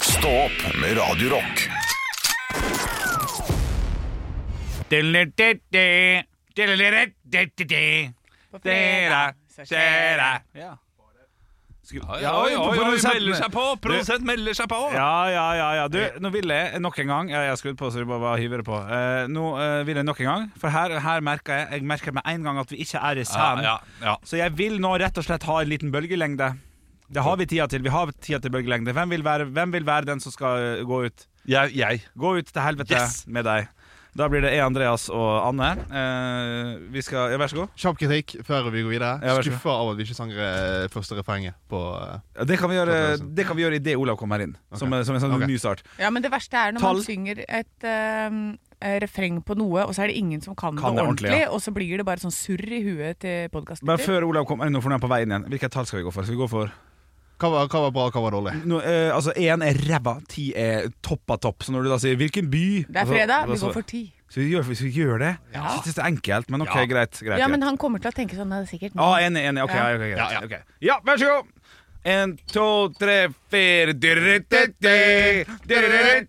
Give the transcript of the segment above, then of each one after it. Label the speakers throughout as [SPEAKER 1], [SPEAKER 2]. [SPEAKER 1] Stå opp med Radio Rock.
[SPEAKER 2] fredag så skjer det.
[SPEAKER 3] Ja.
[SPEAKER 4] Ja, oi, oi, oi, melder seg på! Produsent melder seg på!
[SPEAKER 3] Ja, ja, ja, ja. Du, nå vil jeg nok en gang ja, Jeg har skrudd på, så du bare hiver det på. Eh, nå eh, vil jeg nok en gang, for her, her merker jeg Jeg merker med en gang at vi ikke er i
[SPEAKER 4] Ja,
[SPEAKER 3] scenen.
[SPEAKER 4] ja, ja.
[SPEAKER 3] Så jeg vil nå rett og slett ha en liten bølgelengde. Det har vi tida til. Vi har tida til bølgelengde. Hvem vil være, hvem vil være den som skal eh, gå ut?
[SPEAKER 4] Jeg, jeg.
[SPEAKER 3] Gå ut til helvete
[SPEAKER 4] Yes!
[SPEAKER 3] med deg. Da blir det E. Andreas og Anne. Eh, vi skal, ja, Vær så god.
[SPEAKER 5] Kjapp kritikk før vi går videre.
[SPEAKER 3] Ja, vær så god.
[SPEAKER 5] Skuffa av at vi ikke sang eh, første refrenget på eh,
[SPEAKER 3] Ja, Det kan vi gjøre,
[SPEAKER 5] Takk, Larsen.
[SPEAKER 3] det kan vi gjøre idet Olav kommer inn. Som, som en sånn
[SPEAKER 5] Ok.
[SPEAKER 3] ny start.
[SPEAKER 2] Ja, men det verste er når
[SPEAKER 3] Tall.
[SPEAKER 2] man synger et øhm, eh, refreng på noe, og så er det ingen som kan, det ordentlig,
[SPEAKER 3] ja.
[SPEAKER 2] og så blir det bare sånn surr i huet til
[SPEAKER 3] Men
[SPEAKER 5] Eh,
[SPEAKER 2] podkastlytter.
[SPEAKER 3] før Olav kommer inn, nå, for nå er han på veien igjen. Hvilket tall skal vi gå for? Skal vi gå for
[SPEAKER 5] hva, var, hva var bra, hva var dårlig?
[SPEAKER 3] nå, eh, Altså, én er ræva, ti er topp av topp. Så når du da sier 'hvilken by'
[SPEAKER 2] Det er
[SPEAKER 3] altså,
[SPEAKER 2] fredag, vi
[SPEAKER 3] altså,
[SPEAKER 2] går for ti.
[SPEAKER 3] Så vi gjør, så vi gjør det? Ja. Jeg synes det er enkelt, men ok,
[SPEAKER 4] Ja.
[SPEAKER 3] greit. greit,
[SPEAKER 2] Ja,
[SPEAKER 3] greit. Ah,
[SPEAKER 2] men han kommer til å tenke sånn, det er sikkert
[SPEAKER 3] Ja, enig, enig. Ok,
[SPEAKER 2] Ja.
[SPEAKER 3] ja. ok, greit. Ja, ja, vær så god. En, to, tre, fire Dirrititti,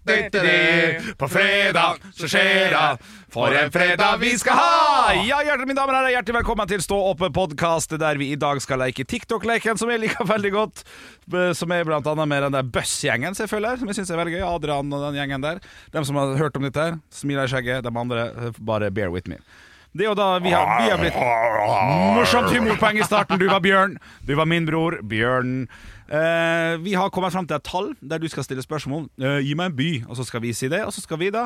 [SPEAKER 3] dirrititti. På fredag så skjer det. For en fredag vi skal ha! Ja, hjertelig, mine damer og herrer, hjertelig velkommen til Stå oppe-podkast, der vi i dag skal leke TikTok-leken, som jeg liker veldig godt. eh, Som er blant annet med den der Bøss-gjengen, som jeg følger, som jeg syns er veldig gøy. Adrian og den gjengen der. De som har hørt om dette, her, smiler i skjegget. De andre, eh, bare bear with me. Det er jo da vi har, vi har blitt Morsomt humorpoeng i starten. Du var Bjørn, du var min bror, Bjørn. Eh, vi har kommet fram til et tall der du skal stille spørsmål. Eh, gi meg en by, og så skal vi si det. Og så skal vi da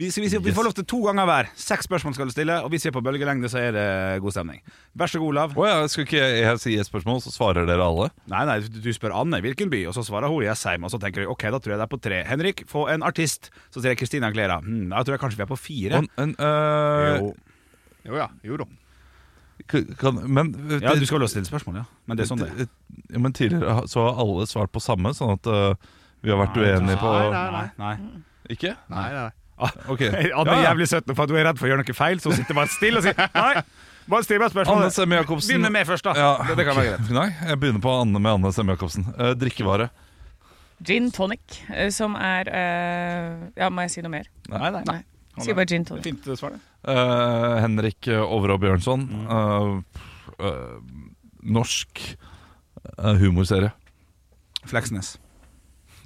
[SPEAKER 3] Vi, skal vi, si, vi får lov til to ganger hver. Seks spørsmål skal du stille, og hvis vi er på bølgelengde, så er det god stemning. Vær så god, Olav.
[SPEAKER 4] Å ja, skal ikke jeg si et spørsmål, så svarer dere alle?
[SPEAKER 3] Nei, nei, du du spør Anne hvilken by, og så svarer hun Jessheim. Og så tenker du ok, da tror jeg det er på tre. Henrik, få en artist. Så sier jeg Christina Aglera. Hm, da tror jeg kanskje vi er på fire.
[SPEAKER 4] En, en, øh,
[SPEAKER 3] Jo.
[SPEAKER 5] Jo ja, jo da.
[SPEAKER 4] k- kan, men, eh,
[SPEAKER 3] Ja, du skal ha lov til å stille spørsmål, ja. Men det er sånn det er.
[SPEAKER 4] Ja, men tidligere har- så har alle svart på samme, sånn at øh, vi har vært
[SPEAKER 3] Nei, sånn.
[SPEAKER 4] uenige på
[SPEAKER 5] nei,
[SPEAKER 3] Nei, nei.
[SPEAKER 4] Ikke?
[SPEAKER 5] Nei, nei, nei.
[SPEAKER 4] Ok.
[SPEAKER 3] Anne er jævlig søt nå, for at hun er redd for å gjøre noe feil, så hun sitter bare stille og sier nei. Bare still meg spørsmål.
[SPEAKER 4] Anne Semme-Jacobsen.
[SPEAKER 3] Begynn med meg først, da.
[SPEAKER 4] Ja,
[SPEAKER 3] det, det kan være greit.
[SPEAKER 4] Nei, jeg begynner på Anne med Anne Semme-Jacobsen. Eh, drikkevare.
[SPEAKER 2] Gin tonic, eh, som er eh, Ja, må jeg si noe mer?
[SPEAKER 3] Nei, nei.
[SPEAKER 2] Nei. Si bare gin tonic.
[SPEAKER 3] Fint svar, det.
[SPEAKER 4] Eh, Henrik eh, Overå Bjørnson.
[SPEAKER 3] Mm.
[SPEAKER 4] Eh, eh, norsk eh, humorserie.
[SPEAKER 3] Fleksnes.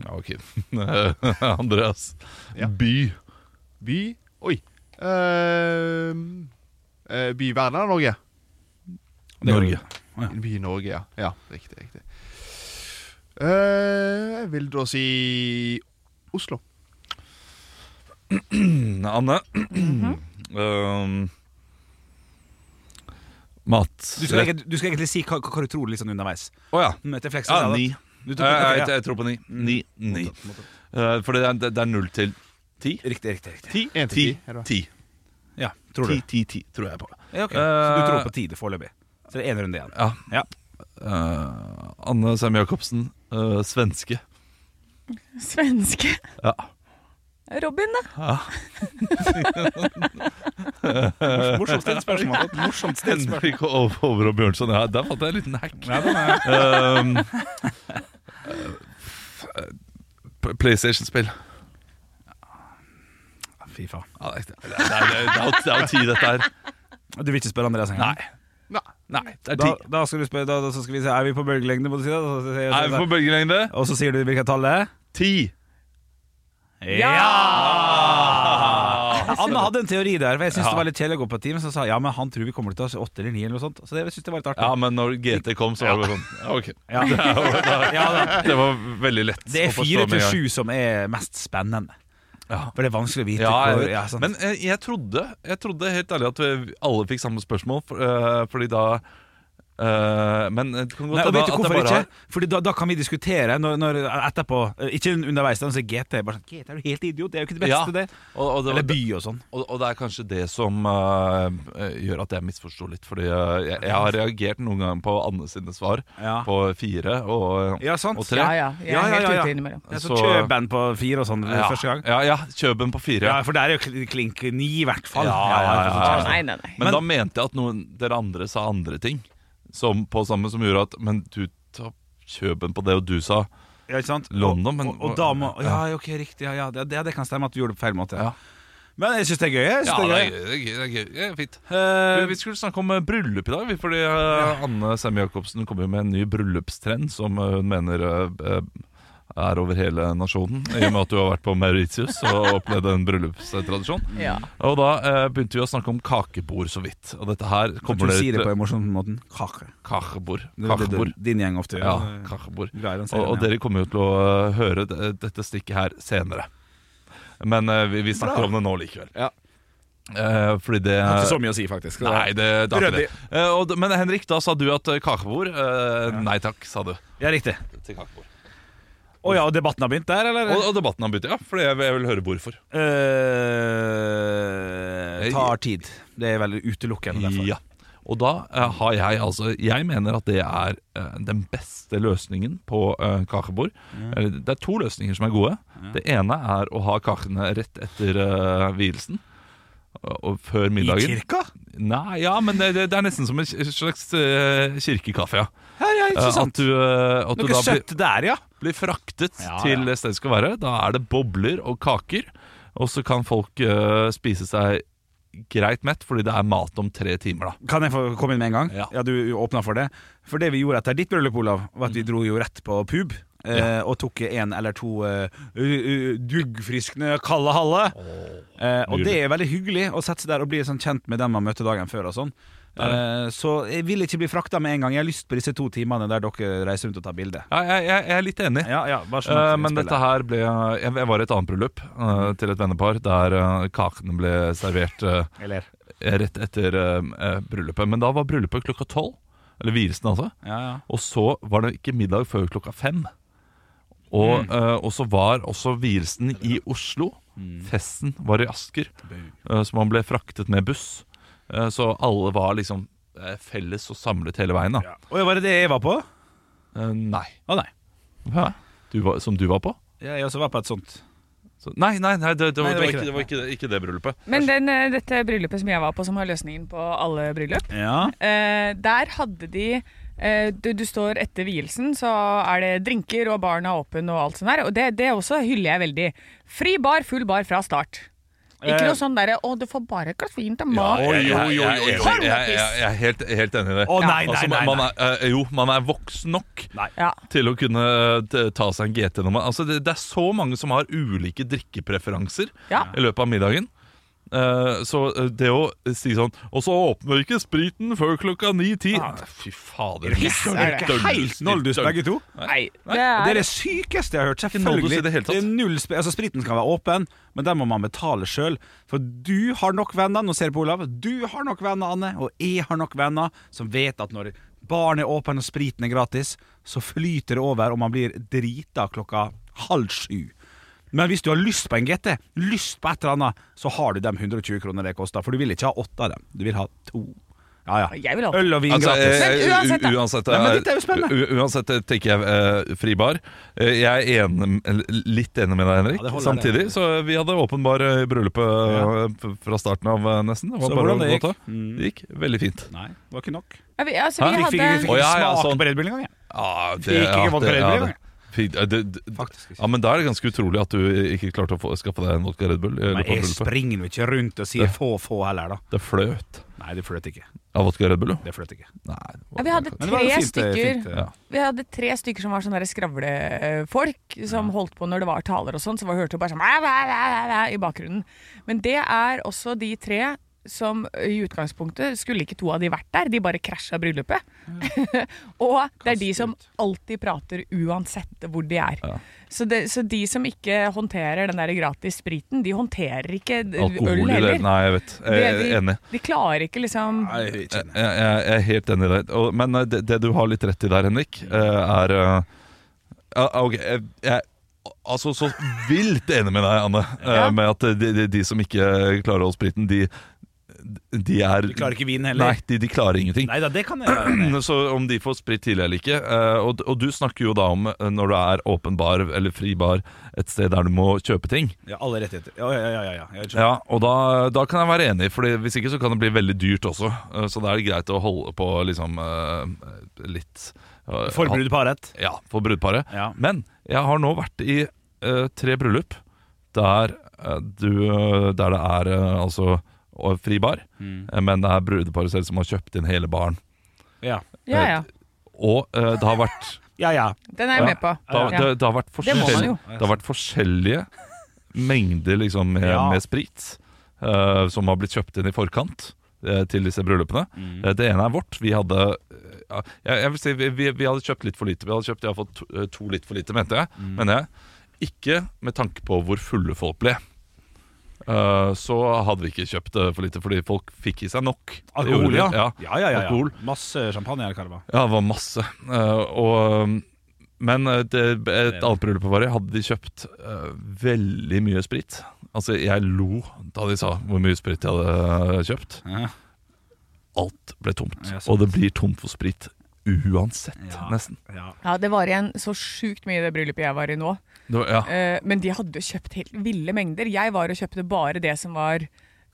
[SPEAKER 4] Ja, ok. Eh, Andreas.
[SPEAKER 5] Ja.
[SPEAKER 4] By.
[SPEAKER 5] By Oi. Ehm, eh, by i verden eller Norge?
[SPEAKER 4] Norge.
[SPEAKER 5] By i Norge, ja. ja riktig, riktig. Eh, jeg vil da si Oslo.
[SPEAKER 4] Mm, Anne. Eh, mat.
[SPEAKER 3] Du skal, egentlig- du skal egentlig si hva, hva du tror litt sånn underveis.
[SPEAKER 4] Å ja.
[SPEAKER 3] Møter Fleksnes.
[SPEAKER 4] ja. Ni.
[SPEAKER 3] Du
[SPEAKER 4] Eh,
[SPEAKER 3] tok, ok,
[SPEAKER 4] jeg,
[SPEAKER 3] ja.
[SPEAKER 4] jeg tror på ni. Ni. ni. Eh, for det er, det er null til ti.
[SPEAKER 3] Riktig, riktig. riktig
[SPEAKER 4] Ti.
[SPEAKER 5] En til ti, er det.
[SPEAKER 4] Ti.
[SPEAKER 3] Ja, tror du.
[SPEAKER 4] Ti, ti, ti, tror jeg på.
[SPEAKER 3] Ja, ok. Så du tror på tid foreløpig. Så det er én runde igjen.
[SPEAKER 4] Ja.
[SPEAKER 3] Ja.
[SPEAKER 4] Eh, Anne Sem-Jacobsen. eh, svenske.
[SPEAKER 2] Svenske.
[SPEAKER 4] Ja.
[SPEAKER 2] Robin, da.
[SPEAKER 4] Eh,
[SPEAKER 3] Morsomt stilt spørsmål. Morsomt stilt spørsmål.
[SPEAKER 4] Henrik Over Over og Bjørnson. Ja, der fant jeg en liten hack.
[SPEAKER 3] Ja, den er-
[SPEAKER 4] Um, eh, p- PlayStation-spill.
[SPEAKER 3] Fy faen.
[SPEAKER 4] Ja, det, er- det, er- det er jo- det er jo ti, dette her.
[SPEAKER 3] Du vil ikke spørre Andreas engang?
[SPEAKER 5] Nei.
[SPEAKER 4] Nei, det er
[SPEAKER 3] Da,
[SPEAKER 4] ti.
[SPEAKER 3] da skal du spørre, da, da så skal vi se Er vi på bølgelengde, må du si det? Så sier jeg
[SPEAKER 4] Er vi på bølgelengde?
[SPEAKER 3] Og så sier du hvilket tall det er?
[SPEAKER 4] Ti.
[SPEAKER 3] Ja, Anne hadde en teori der, for jeg syntes det var litt kjedelig å gå på team. Så sa jeg, ja, men han tror vi kommer til å ta åtte eller ni eller noe sånt. Så det jeg synes det var litt artig.
[SPEAKER 4] Ja, men når GT kom, så var det sånn. Ja, ok.
[SPEAKER 3] Ja. Ja, da.
[SPEAKER 4] Det var veldig lett.
[SPEAKER 3] Det
[SPEAKER 4] å
[SPEAKER 3] er
[SPEAKER 4] forstå
[SPEAKER 3] fire
[SPEAKER 4] med
[SPEAKER 3] til
[SPEAKER 4] en gang.
[SPEAKER 3] sju som er mest spennende.
[SPEAKER 4] Ja.
[SPEAKER 3] For det er vanskelig å vite.
[SPEAKER 4] Ja, jeg
[SPEAKER 3] hvor,
[SPEAKER 4] vet.
[SPEAKER 3] ja, sånn.
[SPEAKER 4] Men
[SPEAKER 3] sant.
[SPEAKER 4] eh, jeg trodde, jeg trodde helt ærlig at vi alle fikk samme spørsmål, for, eh, fordi da eh, Men det kan godt
[SPEAKER 3] Nei, og
[SPEAKER 4] hende
[SPEAKER 3] vet du
[SPEAKER 4] at jeg
[SPEAKER 3] hvorfor
[SPEAKER 4] bare har-
[SPEAKER 3] ikke? Fordi da, da kan vi diskutere når, når, etterpå. eh, Ikke underveis. Da sier GT bare sånn GT er du helt idiot, det er jo ikke det
[SPEAKER 4] Ja.
[SPEAKER 3] beste, det.
[SPEAKER 4] Og, og det var-
[SPEAKER 3] Eller by og sånn.
[SPEAKER 4] Og, og det er kanskje det som eh, eh, gjør at jeg misforsto litt. Fordi eh, jeg, jeg har reagert noen ganger på Anne sine svar
[SPEAKER 3] Ja.
[SPEAKER 4] på fire og,
[SPEAKER 3] Ja, sant.
[SPEAKER 4] og tre.
[SPEAKER 2] Ah, Ja ja, jeg er
[SPEAKER 3] Ja, ja,
[SPEAKER 2] helt
[SPEAKER 3] ja, ja.
[SPEAKER 2] ute innimellom.
[SPEAKER 3] Det er
[SPEAKER 4] Så-
[SPEAKER 3] så Kjøben på fire og sånn
[SPEAKER 4] ja.
[SPEAKER 3] første gang.
[SPEAKER 4] Ja, ja, Kjøben på fire.
[SPEAKER 3] Ja, for der er jo kl- klink ni, i hvert fall.
[SPEAKER 4] Ja, ja, ja, ja.
[SPEAKER 2] Nei, nei, nei.
[SPEAKER 4] Men, da mente jeg at noen, dere andre sa andre ting som, på samme som gjorde at Men du tar Kjøben på det, og du sa
[SPEAKER 3] Ja, ikke sant?
[SPEAKER 4] London, men-
[SPEAKER 3] og, og, og da må Ja, ok, riktig. Ja, ja, det, det det kan stemme at du gjorde det på feil måte.
[SPEAKER 4] Ja.
[SPEAKER 3] Men jeg syns det er gøy. Jeg synes det er gøy.
[SPEAKER 4] det er gøy. Det er gøy. Det er fint.
[SPEAKER 3] Eh,
[SPEAKER 4] Vi skulle snakke om eh, bryllup i dag, vi, fordi eh, Anne Semme Jacobsen kommer jo med en ny bryllupstrend som eh, hun mener eh, eh, er over hele nasjonen, i og med at du har vært på Mauritius og opplevd en bryllupstradisjon.
[SPEAKER 2] Ja.
[SPEAKER 4] Og da eh, begynte vi å snakke om kakebord så vidt. Og dette her
[SPEAKER 3] du
[SPEAKER 4] kommer
[SPEAKER 3] si det på
[SPEAKER 4] dere til
[SPEAKER 3] en morsom måte. Kake.
[SPEAKER 4] Kakebord.
[SPEAKER 3] Det er det
[SPEAKER 4] kakebord.
[SPEAKER 3] du- din gjeng ofte
[SPEAKER 4] Ja,
[SPEAKER 3] gjør.
[SPEAKER 4] kakebord.
[SPEAKER 3] Greier
[SPEAKER 4] Og,
[SPEAKER 3] en serien,
[SPEAKER 4] og
[SPEAKER 3] ja.
[SPEAKER 4] dere kommer jo til å eh, høre d- dette stikket her senere. Men eh, vi, vi snakker om det nå likevel.
[SPEAKER 3] Ja.
[SPEAKER 4] Eh, fordi det
[SPEAKER 3] Det er ikke så mye å si, faktisk. Det er-
[SPEAKER 4] Nei, det, det er ikke
[SPEAKER 3] Ryddig.
[SPEAKER 4] det. Eh, og, d- men Henrik, da sa du at eh, kakebord eh, Nei takk, sa du.
[SPEAKER 3] Ja, riktig.
[SPEAKER 4] Til kakebord.
[SPEAKER 3] Å ja, og debatten har begynt der, eller?
[SPEAKER 4] Og, og debatten har begynt, ja. Fordi jeg, vil- jeg vil høre hvorfor.
[SPEAKER 3] Eh, tar tid. Det er veldig utelukkende derfor.
[SPEAKER 4] Ja. Og da eh, har jeg altså Jeg mener at det er eh, den beste løsningen på eh, kakebord. Eller, Det er to løsninger som er gode. Det ene er å ha kakene rett etter eh, vielsen. Og, og før
[SPEAKER 3] I
[SPEAKER 4] middagen.
[SPEAKER 3] kirka?
[SPEAKER 4] Nei, ja, men det, det det er nesten som en slags eh, kirkekaffe, ja.
[SPEAKER 3] Ja, ja,
[SPEAKER 4] Eh,
[SPEAKER 3] ikke sant.
[SPEAKER 4] At du, eh, at du
[SPEAKER 3] Noe
[SPEAKER 4] da blir,
[SPEAKER 3] søtt der, ja.
[SPEAKER 4] blir fraktet
[SPEAKER 3] Ja,
[SPEAKER 4] til
[SPEAKER 3] ja.
[SPEAKER 4] det stedet det skal være. Da er det bobler og kaker, og så kan folk eh, spise seg greit mett fordi det er mat om tre timer, da.
[SPEAKER 3] Kan jeg få komme inn med en gang?
[SPEAKER 4] Ja.
[SPEAKER 3] Ja, du åpna for det. For det vi gjorde etter ditt bryllup, Olav, var at vi dro jo rett på pub. eh, Og tok en eller to eh, u- u- duggfriskende kalde halle. Eh, og det er veldig hyggelig å sette seg der og bli sånn kjent med den man møtte dagen før. og sånn Eh, Så jeg vil ikke bli frakta med en gang. Jeg har lyst på disse to timene der dere reiser rundt og tar bilde.
[SPEAKER 4] Ja, jeg, jeg, jeg er litt enig.
[SPEAKER 3] Ja, ja, bare sånn at
[SPEAKER 4] Eh,
[SPEAKER 3] vi
[SPEAKER 4] men
[SPEAKER 3] spiller.
[SPEAKER 4] dette her ble Jeg, jeg var i et annet bryllup eh, til et vennepar der eh, kakene ble servert eh,
[SPEAKER 3] Eller?
[SPEAKER 4] rett etter eh, eh, bryllupet. Men da var bryllupet klokka tolv. Eller vielsen, altså.
[SPEAKER 3] Ja, ja.
[SPEAKER 4] Og så var det ikke middag før klokka fem. Og, eh, og så var også vielsen i Oslo. Mm. Festen var i Asker, eh, så man ble fraktet med buss. Eh, så alle var liksom eh, felles og samlet hele veien. da
[SPEAKER 3] Oi, var det det jeg var på?
[SPEAKER 4] Eh, Nei.
[SPEAKER 3] Å nei.
[SPEAKER 4] Hæ? Du var, som du var på?
[SPEAKER 3] Ja, jeg også var på et sånt.
[SPEAKER 4] Så, nei, nei, nei, det, det, var,
[SPEAKER 3] Nei,
[SPEAKER 4] det, var ikke, det var ikke det, ikke det bryllupet.
[SPEAKER 2] Men den, eh, dette bryllupet som jeg var på, som har løsningen på alle bryllup,
[SPEAKER 3] Ja.
[SPEAKER 2] eh, der hadde de eh, du, du står etter vielsen, så er det drinker, og baren er åpen og alt sånt der. Og det, det også hyller jeg veldig. Fri bar, full bar fra start. Ikke
[SPEAKER 3] Eh.
[SPEAKER 2] noe sånn derre 'Å, du får bare et glass vin til mat'.
[SPEAKER 4] jeg, jeg, jeg, jeg, jeg, jeg,
[SPEAKER 2] Hornakis.
[SPEAKER 4] jeg er helt, helt enig i det.
[SPEAKER 3] Å, nei, nei,
[SPEAKER 4] Altså,
[SPEAKER 3] nei,
[SPEAKER 4] man er, eh, jo, man er voksen nok
[SPEAKER 2] Ja.
[SPEAKER 4] til å kunne eh, ta seg en GT. når man- Altså, det, det er så mange som har ulike drikkepreferanser
[SPEAKER 2] Ja.
[SPEAKER 4] i løpet av middagen. Eh, så eh, det å si sånn Og så åpner vi ikke spriten før klokka ni-ti.
[SPEAKER 3] Ah.
[SPEAKER 4] Fy fader.
[SPEAKER 2] er det.
[SPEAKER 3] Helt noldus, begge to.
[SPEAKER 2] Nei, det
[SPEAKER 3] Det er
[SPEAKER 2] er
[SPEAKER 3] det sykeste jeg har hørt.
[SPEAKER 4] noldus
[SPEAKER 3] Selvfølgelig.
[SPEAKER 4] i det hele tatt.
[SPEAKER 3] er null sp- altså, spriten skal være åpen, men den må man betale sjøl. For du har nok venner, nå ser jeg på Olav, du har nok venner, Anne, og jeg har nok venner som vet at når baren er åpen og spriten er gratis, så flyter det over, og man blir drita klokka halv sju. Men hvis du har lyst på en GT, lyst på et eller annet, så har du de 120 kronene det koster. For du vil ikke ha åtte av dem, du vil ha to. Ja, ja.
[SPEAKER 2] Jeg vil ha åtte.
[SPEAKER 3] Øl og vin
[SPEAKER 4] Altså,
[SPEAKER 3] gratis.
[SPEAKER 4] eh,
[SPEAKER 2] Men uansett, da.
[SPEAKER 4] u- uansett,
[SPEAKER 3] Nei, men
[SPEAKER 4] eh,
[SPEAKER 3] dette er jo spennende.
[SPEAKER 4] u- uansett eh, tenker jeg eh, fri bar. Eh, jeg er enig, eller litt enig med deg, Henrik.
[SPEAKER 3] Ja, det holder jeg
[SPEAKER 4] Samtidig, så vi hadde åpenbar eh, bryllupet eh, f- fra starten av, eh, nesten. Det var
[SPEAKER 3] Så
[SPEAKER 4] bare
[SPEAKER 3] hvordan
[SPEAKER 4] å
[SPEAKER 3] det
[SPEAKER 4] gå
[SPEAKER 3] gikk?
[SPEAKER 4] til. Det gikk veldig fint.
[SPEAKER 3] Nei, det var ikke nok.
[SPEAKER 2] Ja, vi, altså,
[SPEAKER 4] Hæ?
[SPEAKER 2] vi hadde
[SPEAKER 3] Fikk, fikk, fikk
[SPEAKER 4] Å,
[SPEAKER 3] ikke
[SPEAKER 4] ja, ja,
[SPEAKER 3] smak
[SPEAKER 4] sånn.
[SPEAKER 3] på Red Bull engang, jeg.
[SPEAKER 4] Ah, det,
[SPEAKER 3] Fikk ikke vodka Red Bull, eller?
[SPEAKER 4] Fint. Eh, det- det-
[SPEAKER 3] Faktisk ikke.
[SPEAKER 4] Ja, men Da er det ganske utrolig at du ikke klarte å få, skaffe deg en vodka Red Bull. eh, i
[SPEAKER 3] Men
[SPEAKER 4] løpet av
[SPEAKER 3] jeg
[SPEAKER 4] bryllupet.
[SPEAKER 3] springer jo ikke rundt og sier få, få heller, da.
[SPEAKER 4] Det fløt
[SPEAKER 3] Nei, det fløt ikke.
[SPEAKER 4] av vodka Red Bull, jo.
[SPEAKER 3] Det fløt ikke.
[SPEAKER 4] Nei,
[SPEAKER 2] Ja, vi hadde
[SPEAKER 3] Men det var jo
[SPEAKER 2] tre
[SPEAKER 3] fint, eh,
[SPEAKER 2] stykker
[SPEAKER 3] fint, eh.
[SPEAKER 4] ja.
[SPEAKER 2] Vi hadde tre stykker som var sånne der skravlefolk, som holdt på når det var taler og sånn, så var- hørte du bare sånn "Æ, æ, æ, æ, æ," i bakgrunnen. Men det er også de tre som i utgangspunktet skulle ikke to av de vært der, de bare krasja bryllupet. og det er de som alltid prater uansett hvor de er. Så, det, så de som ikke håndterer den der gratis spriten, de håndterer ikke d- øl
[SPEAKER 4] Alkohol i det?
[SPEAKER 2] heller.
[SPEAKER 4] Nei, jeg vet. Jeg
[SPEAKER 2] Det-
[SPEAKER 4] er enig.
[SPEAKER 2] De klarer ikke liksom
[SPEAKER 3] Nei, jeg
[SPEAKER 4] Jeg,
[SPEAKER 3] kjenner.
[SPEAKER 4] jeg, jeg er helt enig i deg. Og, men eh, det, det du har litt rett i der, Henrik,
[SPEAKER 3] Mm.
[SPEAKER 4] eh, er eh, ja, Ok, jeg, jeg Altså, så vilt enig med deg, Anne, eh,
[SPEAKER 2] Ja.
[SPEAKER 4] med at de, de, de som ikke klarer å holde spriten, de de er
[SPEAKER 3] De klarer ikke vin heller.
[SPEAKER 4] Nei, de, de klarer ingenting.
[SPEAKER 3] Nei da, det kan jeg gjøre. Nei.
[SPEAKER 4] Så om de får sprit tidlig eller ikke eh, og, og du snakker jo da om eh, når du er åpen bar eller fri bar et sted der du må kjøpe ting.
[SPEAKER 3] Ja, alle rettigheter. Ja, ja, ja. ja, ja. Jeg skjønner.
[SPEAKER 4] Ja, og da, da kan jeg være enig, for hvis ikke så kan det bli veldig dyrt også. Eh, Så da er det greit å holde på liksom eh, litt eh,
[SPEAKER 3] Forbrudd på Arett.
[SPEAKER 4] Ja, for brudeparet.
[SPEAKER 3] Ja.
[SPEAKER 4] Men jeg har nå vært i eh, tre bryllup der, eh, du, eh, der det er eh, altså og fri bar, eh, men det er brudeparet selv som har kjøpt inn hele baren.
[SPEAKER 3] Ja.
[SPEAKER 2] Ja, ja.
[SPEAKER 4] Og eh, det har vært
[SPEAKER 3] ja, ja.
[SPEAKER 2] Den er jeg med på.
[SPEAKER 4] det, har- det,
[SPEAKER 2] Ja.
[SPEAKER 4] det, har vært
[SPEAKER 2] Det må man
[SPEAKER 4] forskjell-
[SPEAKER 2] jo.
[SPEAKER 4] det har vært forskjellige mengder liksom, med,
[SPEAKER 3] Ja.
[SPEAKER 4] med sprit eh, som har blitt kjøpt inn i forkant eh, til disse bryllupene.
[SPEAKER 3] Mm.
[SPEAKER 4] Eh, det ene er vårt. Vi hadde eh, ja, jeg, jeg vil si, vi, vi, vi hadde kjøpt litt for lite. Vi hadde kjøpt jeg har fått to, eh, to litt for lite, mente jeg.
[SPEAKER 3] Mm.
[SPEAKER 4] mener jeg. Ikke med tanke på hvor fulle folk ble. Eh, så hadde vi ikke kjøpt eh, for lite, fordi folk fikk i seg nok. Det gjorde
[SPEAKER 3] Alkohol,
[SPEAKER 4] de.
[SPEAKER 3] ja.
[SPEAKER 4] ja.
[SPEAKER 3] ja, ja, ja, ja.
[SPEAKER 4] Alkohol.
[SPEAKER 3] Masse champagne eller karva.
[SPEAKER 4] Ja, det var masse. Eh, og, um, men eh, det, et annet bryllup var i, hadde de kjøpt eh, veldig mye sprit. Altså, jeg lo da de sa hvor mye sprit de hadde eh, kjøpt.
[SPEAKER 3] Ja.
[SPEAKER 4] Alt ble tomt.
[SPEAKER 3] Ja, sant.
[SPEAKER 4] og det blir tomt for sprit uansett,
[SPEAKER 3] Ja.
[SPEAKER 4] nesten.
[SPEAKER 3] Ja.
[SPEAKER 2] Ja, det var igjen så sjukt mye i det bryllupet jeg var i nå.
[SPEAKER 4] Det var, ja.
[SPEAKER 2] Eh, men de hadde jo kjøpt helt ville mengder. Jeg var og kjøpte bare det som var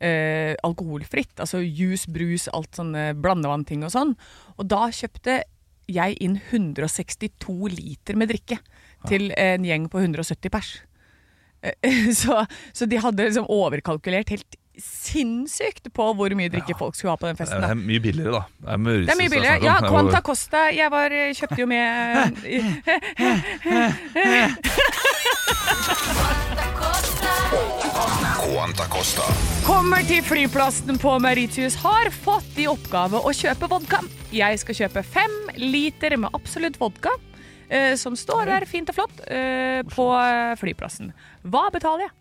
[SPEAKER 2] eh, alkoholfritt. Altså juice, brus, alt sånne blandevannting og sånn. Og da kjøpte jeg inn 162 liter med drikke til en gjeng på 170 pers. Eh, Så, så de hadde liksom overkalkulert helt sinnssykt på hvor mye drikke folk skulle ha på den
[SPEAKER 4] Det
[SPEAKER 2] festen.
[SPEAKER 4] er
[SPEAKER 2] Da.
[SPEAKER 4] mye billigere, da. Det er, mye
[SPEAKER 2] Det er mye billigere.
[SPEAKER 4] altså,
[SPEAKER 2] Ja,
[SPEAKER 4] sånn-
[SPEAKER 2] Quanta Costa. Jeg var, eh, kjøpte jo med eh,
[SPEAKER 6] Quanta Costa.
[SPEAKER 2] Kommer til flyplassen på Mauritius, har fått i oppgave å kjøpe vodka. Jeg skal kjøpe fem liter med absolutt vodka, eh, som står der fint og flott eh, på eh, flyplassen. Hva betaler jeg?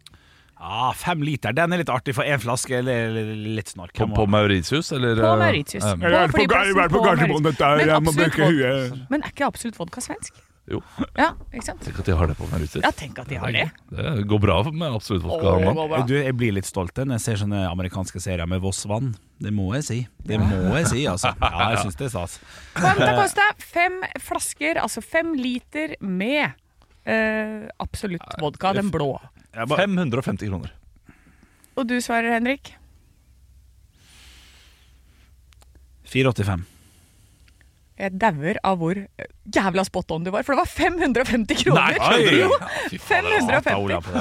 [SPEAKER 3] Ah, fem liter. Den er litt artig for én flaske. Eller eller litt snork.
[SPEAKER 4] På, på Mauritius, eller?
[SPEAKER 2] På
[SPEAKER 4] eh,
[SPEAKER 2] Mauritius.
[SPEAKER 4] eh,
[SPEAKER 2] På flyplassen på Mauritius. Men absolutt vod-
[SPEAKER 3] huet.
[SPEAKER 2] Men er ikke absolutt vodka svensk?
[SPEAKER 4] Jo.
[SPEAKER 2] Ja, ikke sant?
[SPEAKER 4] Tenk at de har det på Mauritius.
[SPEAKER 2] Ja, tenk at de har det.
[SPEAKER 4] Det går bra med absolutt vodka.
[SPEAKER 2] Åh, det
[SPEAKER 4] mann.
[SPEAKER 2] går bra.
[SPEAKER 3] Du, jeg blir litt stolt når jeg ser sånne amerikanske serier med Voss-vann. Det må jeg si. Det må jeg si, altså. Ja, jeg syns det er stas.
[SPEAKER 2] Quanta Costa, fem flasker, altså fem liter med eh, absolutt vodka, den blå.
[SPEAKER 3] Jeg bare-
[SPEAKER 4] 550 kroner.
[SPEAKER 2] Og du svarer, Henrik?
[SPEAKER 3] 485.
[SPEAKER 2] Jeg dauer av hvor eh, jævla spot on du var, for det var 550 kroner! jo, 550.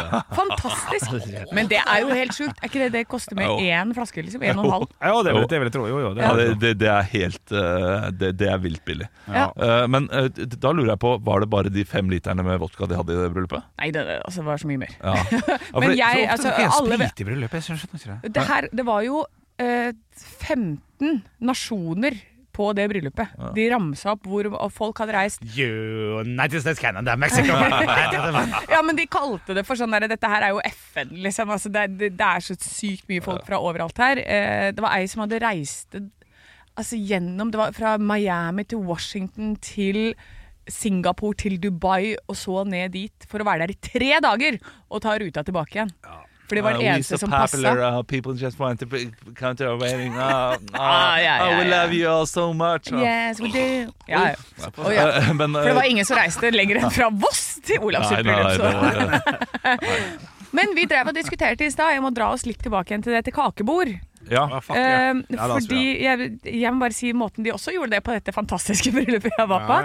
[SPEAKER 2] Fantastisk! Men det er jo helt sjukt. Er ikke det det koster med
[SPEAKER 4] Jo.
[SPEAKER 2] én flaske? liksom? En og en halv?
[SPEAKER 3] Ja, det vil, det vil jeg tro. Jo, jo, det
[SPEAKER 4] Ja,
[SPEAKER 3] vil
[SPEAKER 4] det,
[SPEAKER 3] jeg tro.
[SPEAKER 4] det, det er helt eh, det, det er vilt billig.
[SPEAKER 2] Ja.
[SPEAKER 4] Eh, men eh, d- da lurer jeg på, var det bare de fem literne med vodka de hadde i det bryllupet?
[SPEAKER 2] Nei, det, det- altså, det var så mye mer.
[SPEAKER 4] Ja. Ja,
[SPEAKER 2] Men
[SPEAKER 4] fordi-
[SPEAKER 2] jeg,
[SPEAKER 3] Så
[SPEAKER 2] altså,
[SPEAKER 3] ofte er det
[SPEAKER 2] alle
[SPEAKER 3] sprit i bryllup, jeg skjønner ikke det.
[SPEAKER 2] Det her, det var jo eh, 15 nasjoner på det bryllupet. De ramsa opp hvor og folk hadde reist.
[SPEAKER 3] United States, Canada, Mexico
[SPEAKER 2] Ja, men de kalte det for sånn der Dette her er jo FN, liksom. Altså, det, det, det er så sykt mye folk fra overalt her. Eh, det var ei som hadde reist altså, gjennom Det var fra Miami til Washington til Singapore til Dubai og så ned dit for å være der i tre dager og ta ruta tilbake igjen. For det var den
[SPEAKER 4] Uh, we
[SPEAKER 2] eneste
[SPEAKER 4] so
[SPEAKER 2] som
[SPEAKER 4] popular,
[SPEAKER 2] passa.
[SPEAKER 4] uh, people just want to be- come to our wedding. Uh, uh,
[SPEAKER 2] Ah, ja, ja,
[SPEAKER 4] uh, we
[SPEAKER 2] ja.
[SPEAKER 4] love you all so much. Uh,
[SPEAKER 2] Yes, we do. Ja, ja. Å, ja.
[SPEAKER 4] eh, men,
[SPEAKER 2] For det
[SPEAKER 4] eh,
[SPEAKER 2] var ingen som reiste lenger enn fra Voss til
[SPEAKER 4] nei, nei,
[SPEAKER 2] Olavsbryllup.
[SPEAKER 4] det
[SPEAKER 2] så-
[SPEAKER 4] var- eh,
[SPEAKER 2] Men vi drev og diskuterte i stad. Jeg må dra oss litt tilbake igjen til det til kakebord.
[SPEAKER 4] ja.
[SPEAKER 2] Eh,
[SPEAKER 3] Ja, la oss
[SPEAKER 2] fordi jeg, jeg må bare si måten de også gjorde det på dette fantastiske bryllupet jeg var på.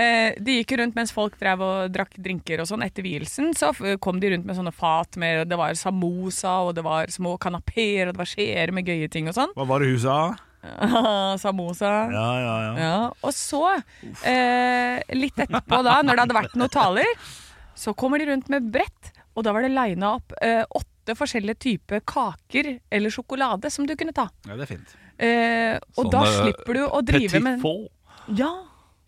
[SPEAKER 2] Eh, de gikk jo rundt mens folk drev og drakk drinker og sånn etter vielsen. Så f- kom de rundt med sånne fat med Det var samosa, og det var små kanapeer, og det var skjeer med gøye ting og sånn.
[SPEAKER 3] Hva var det hun sa?
[SPEAKER 2] samosa.
[SPEAKER 3] Ja, ja, ja.
[SPEAKER 2] Ja, og så, eh, litt etterpå da, når det hadde vært noen taler, så kommer de rundt med brett, og da var det lina opp eh, åtte forskjellige typer kaker eller sjokolade som du kunne ta.
[SPEAKER 3] ja det er fint.
[SPEAKER 2] Eh, og da
[SPEAKER 4] Sånne
[SPEAKER 2] slipper du å drive
[SPEAKER 4] Sånn Petit
[SPEAKER 2] med
[SPEAKER 4] faux.
[SPEAKER 2] Ja,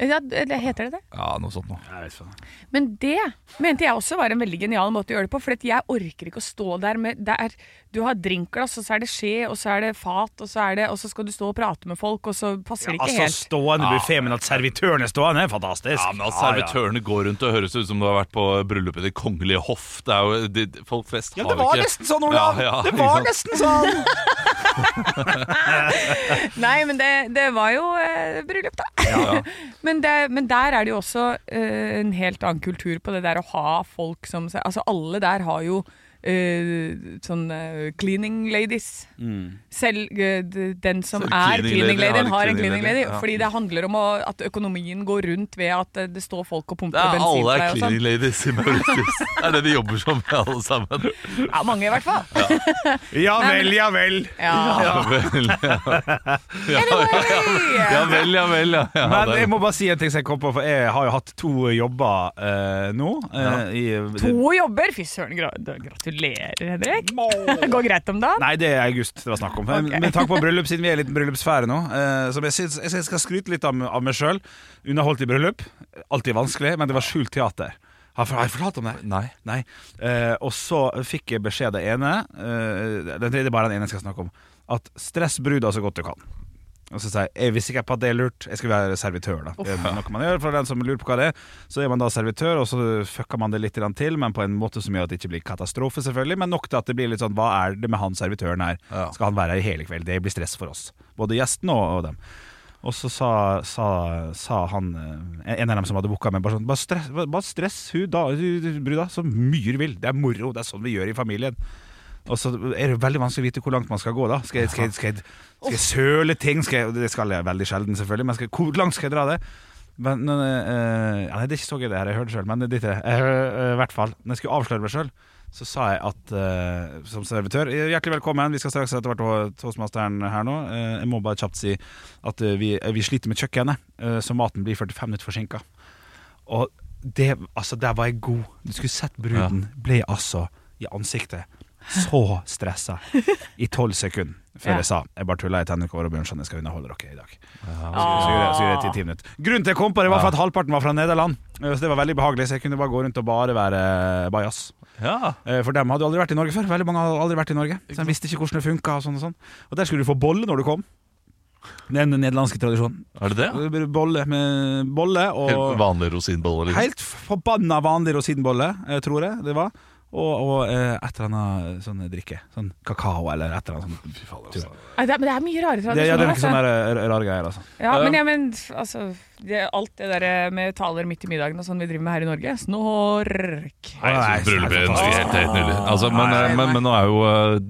[SPEAKER 2] ja, det det heter det det?
[SPEAKER 4] Ja, noe sånt noe.
[SPEAKER 3] Jeg vet faen.
[SPEAKER 2] Men det mente jeg også var en veldig genial måte å gjøre det på. For at jeg orker ikke å stå der med det er, Du har drinkglass, og så er det skje, og så er det fat, og så, er det, og så skal du stå og prate med folk, og så passer det ikke
[SPEAKER 3] Altså,
[SPEAKER 2] helt.
[SPEAKER 3] stående buffé, men at servitøren er stående, er fantastisk.
[SPEAKER 4] Ja, men at servitørene går rundt og høres ut som du har vært på bryllupet i Det kongelige hoff. Det er jo, de, de- folk flest
[SPEAKER 3] Ja,
[SPEAKER 4] har jo
[SPEAKER 3] det var
[SPEAKER 4] ikke
[SPEAKER 3] nesten sånn, Olav!
[SPEAKER 4] Ja, ja,
[SPEAKER 3] det
[SPEAKER 4] ikke
[SPEAKER 3] var
[SPEAKER 4] sant?
[SPEAKER 3] nesten sånn!
[SPEAKER 2] Nei, men det, det var jo eh, bryllup, da. men, det, men der er det jo også eh, en helt annen kultur på det der å ha folk som seg Altså, alle der har jo eh, sånn eh, cleaning ladies. Selv eh, d- den som
[SPEAKER 4] Selv
[SPEAKER 2] er
[SPEAKER 4] cleaning
[SPEAKER 2] cleaning
[SPEAKER 4] lady
[SPEAKER 2] lady,
[SPEAKER 4] har en
[SPEAKER 2] har
[SPEAKER 4] cleaning
[SPEAKER 2] en cleaning
[SPEAKER 4] lady,
[SPEAKER 2] lady.
[SPEAKER 4] ja.
[SPEAKER 2] Fordi det handler om å, at økonomien går rundt ved at eh, det står folk og
[SPEAKER 4] Det
[SPEAKER 2] pumper
[SPEAKER 4] er
[SPEAKER 2] bensin
[SPEAKER 4] alle er
[SPEAKER 2] for deg og
[SPEAKER 4] cleaning
[SPEAKER 2] sånn.
[SPEAKER 4] ladies i Mauritius. Det er det de jobber som, alle sammen.
[SPEAKER 2] Ja, mange i hvert fall.
[SPEAKER 7] Ja
[SPEAKER 2] Nei, men-
[SPEAKER 7] vel, ja vel.
[SPEAKER 2] Ja.
[SPEAKER 4] Ja vel, ja.
[SPEAKER 2] Anyway!
[SPEAKER 4] Ja vel, ja vel. Ja, ja,
[SPEAKER 3] Men
[SPEAKER 4] det er-
[SPEAKER 3] jeg må bare si en ting som jeg kom på, for jeg har jo hatt to jobber eh, nå. eh, i,
[SPEAKER 2] To jobber! Fy søren, gra- gratulerer, Henrik. Går greit om dagen?
[SPEAKER 3] Nei, det er august det var snakk om. Men-
[SPEAKER 2] Ok.
[SPEAKER 3] Men takk på bryllup, siden vi er i liten bryllupsfære nå. eh, som jeg, syns, jeg skal skryte litt av, av meg sjøl. Underholdt i bryllup. Alltid vanskelig, men det var skjult teater. Har, har jeg fortalt om det?
[SPEAKER 4] Nei.
[SPEAKER 3] Nei. Eh, og så fikk jeg beskjed av det ene eh, Det det er bare den ene jeg skal snakke om. At stress bruda så godt du kan. Og så sier jeg jeg visste ikke på at det er lurt, jeg skal være servitør. da Det er noe man gjør for den som lurer på hva det er. Så er man da servitør, og så fucker man det litt grann til, men på en måte som gjør at det ikke blir katastrofe, selvfølgelig. Men nok til at det blir litt sånn hva er det med han servitøren her?
[SPEAKER 4] Ja.
[SPEAKER 3] Skal han være her i hele kveld? Det blir stress for oss. Både gjesten og, og dem. Og så sa, sa, sa han eh, En av dem som hadde booka meg, bare sånn Bare stress, bare stress hun da, hun bruda så mye du vil. Det er moro. Det er sånn vi gjør i familien. Og så er det veldig vanskelig å vite hvor langt man skal gå. da Skal jeg, skal jeg, skal jeg, skal jeg søle ting? Skal jeg, det skal jeg veldig sjelden, selvfølgelig, men skal, jeg- hvor langt skal jeg dra det? Men, men, eh, ja, nei, det er ikke så gøy det her, jeg hørte det sjøl, men det er ikke det. Eh, eh, I hvert fall. Når jeg skulle avsløre meg sjøl, så sa jeg at eh, som servitør eh, Hjertelig velkommen, vi skal straks etter hvert ha toastmasteren her nå. Eh, jeg må bare kjapt si at eh, vi, eh, vi sliter med kjøkkenet, eh, så maten blir 45 minutter forsinka. Og det, altså, der var jeg god. Du skulle sett bruden. Ble altså i ansiktet så stressa i tolv sekunder før
[SPEAKER 2] Ja.
[SPEAKER 3] jeg sa Jeg bare tulla, jeg tenner ikke over Bjørnson, jeg skal underholde dere i dag. Så gjorde jeg- så gjorde jeg
[SPEAKER 2] Ah.
[SPEAKER 3] det i ti minutter. Grunnen til jeg kom på det, var for at halvparten var fra Nederland. Eh, Så det var veldig behagelig, så jeg kunne bare gå rundt og bare være eh, bajas.
[SPEAKER 4] Ja.
[SPEAKER 3] Eh, For dem hadde jo aldri vært i Norge før. Veldig mange hadde aldri vært i Norge Så de visste ikke hvordan det funka. Og, sånn og, sånn. og der skulle du få bolle når du kom. Den nederlandske tradisjonen.
[SPEAKER 4] Er det det?
[SPEAKER 3] Bolle med bolle
[SPEAKER 4] Helt
[SPEAKER 3] og
[SPEAKER 4] vanlig rosinboller? liksom.
[SPEAKER 3] Helt forbanna vanlig rosinbolle, eh, tror jeg det var. Og, og eh, et eller annet sånn drikke. Sånn kakao eller et eller annet sånt.
[SPEAKER 4] altså.
[SPEAKER 2] Nei, det er- Men det er mye rare
[SPEAKER 3] Det, ja, det er
[SPEAKER 2] tradisjoner.
[SPEAKER 3] noen
[SPEAKER 2] altså.
[SPEAKER 3] sånne der, eh, rare greier, altså.
[SPEAKER 2] Ja, men, ja, men f- altså, det, alt det der eh, med taler midt i middagen og sånn vi driver med her i Norge, snork.
[SPEAKER 4] Nei, jeg synes
[SPEAKER 3] Nei,
[SPEAKER 4] bryllupet er
[SPEAKER 3] så fantastisk.
[SPEAKER 4] helt, helt nydelig. Altså, men,
[SPEAKER 2] Nei.
[SPEAKER 4] men, men nå er jo eh,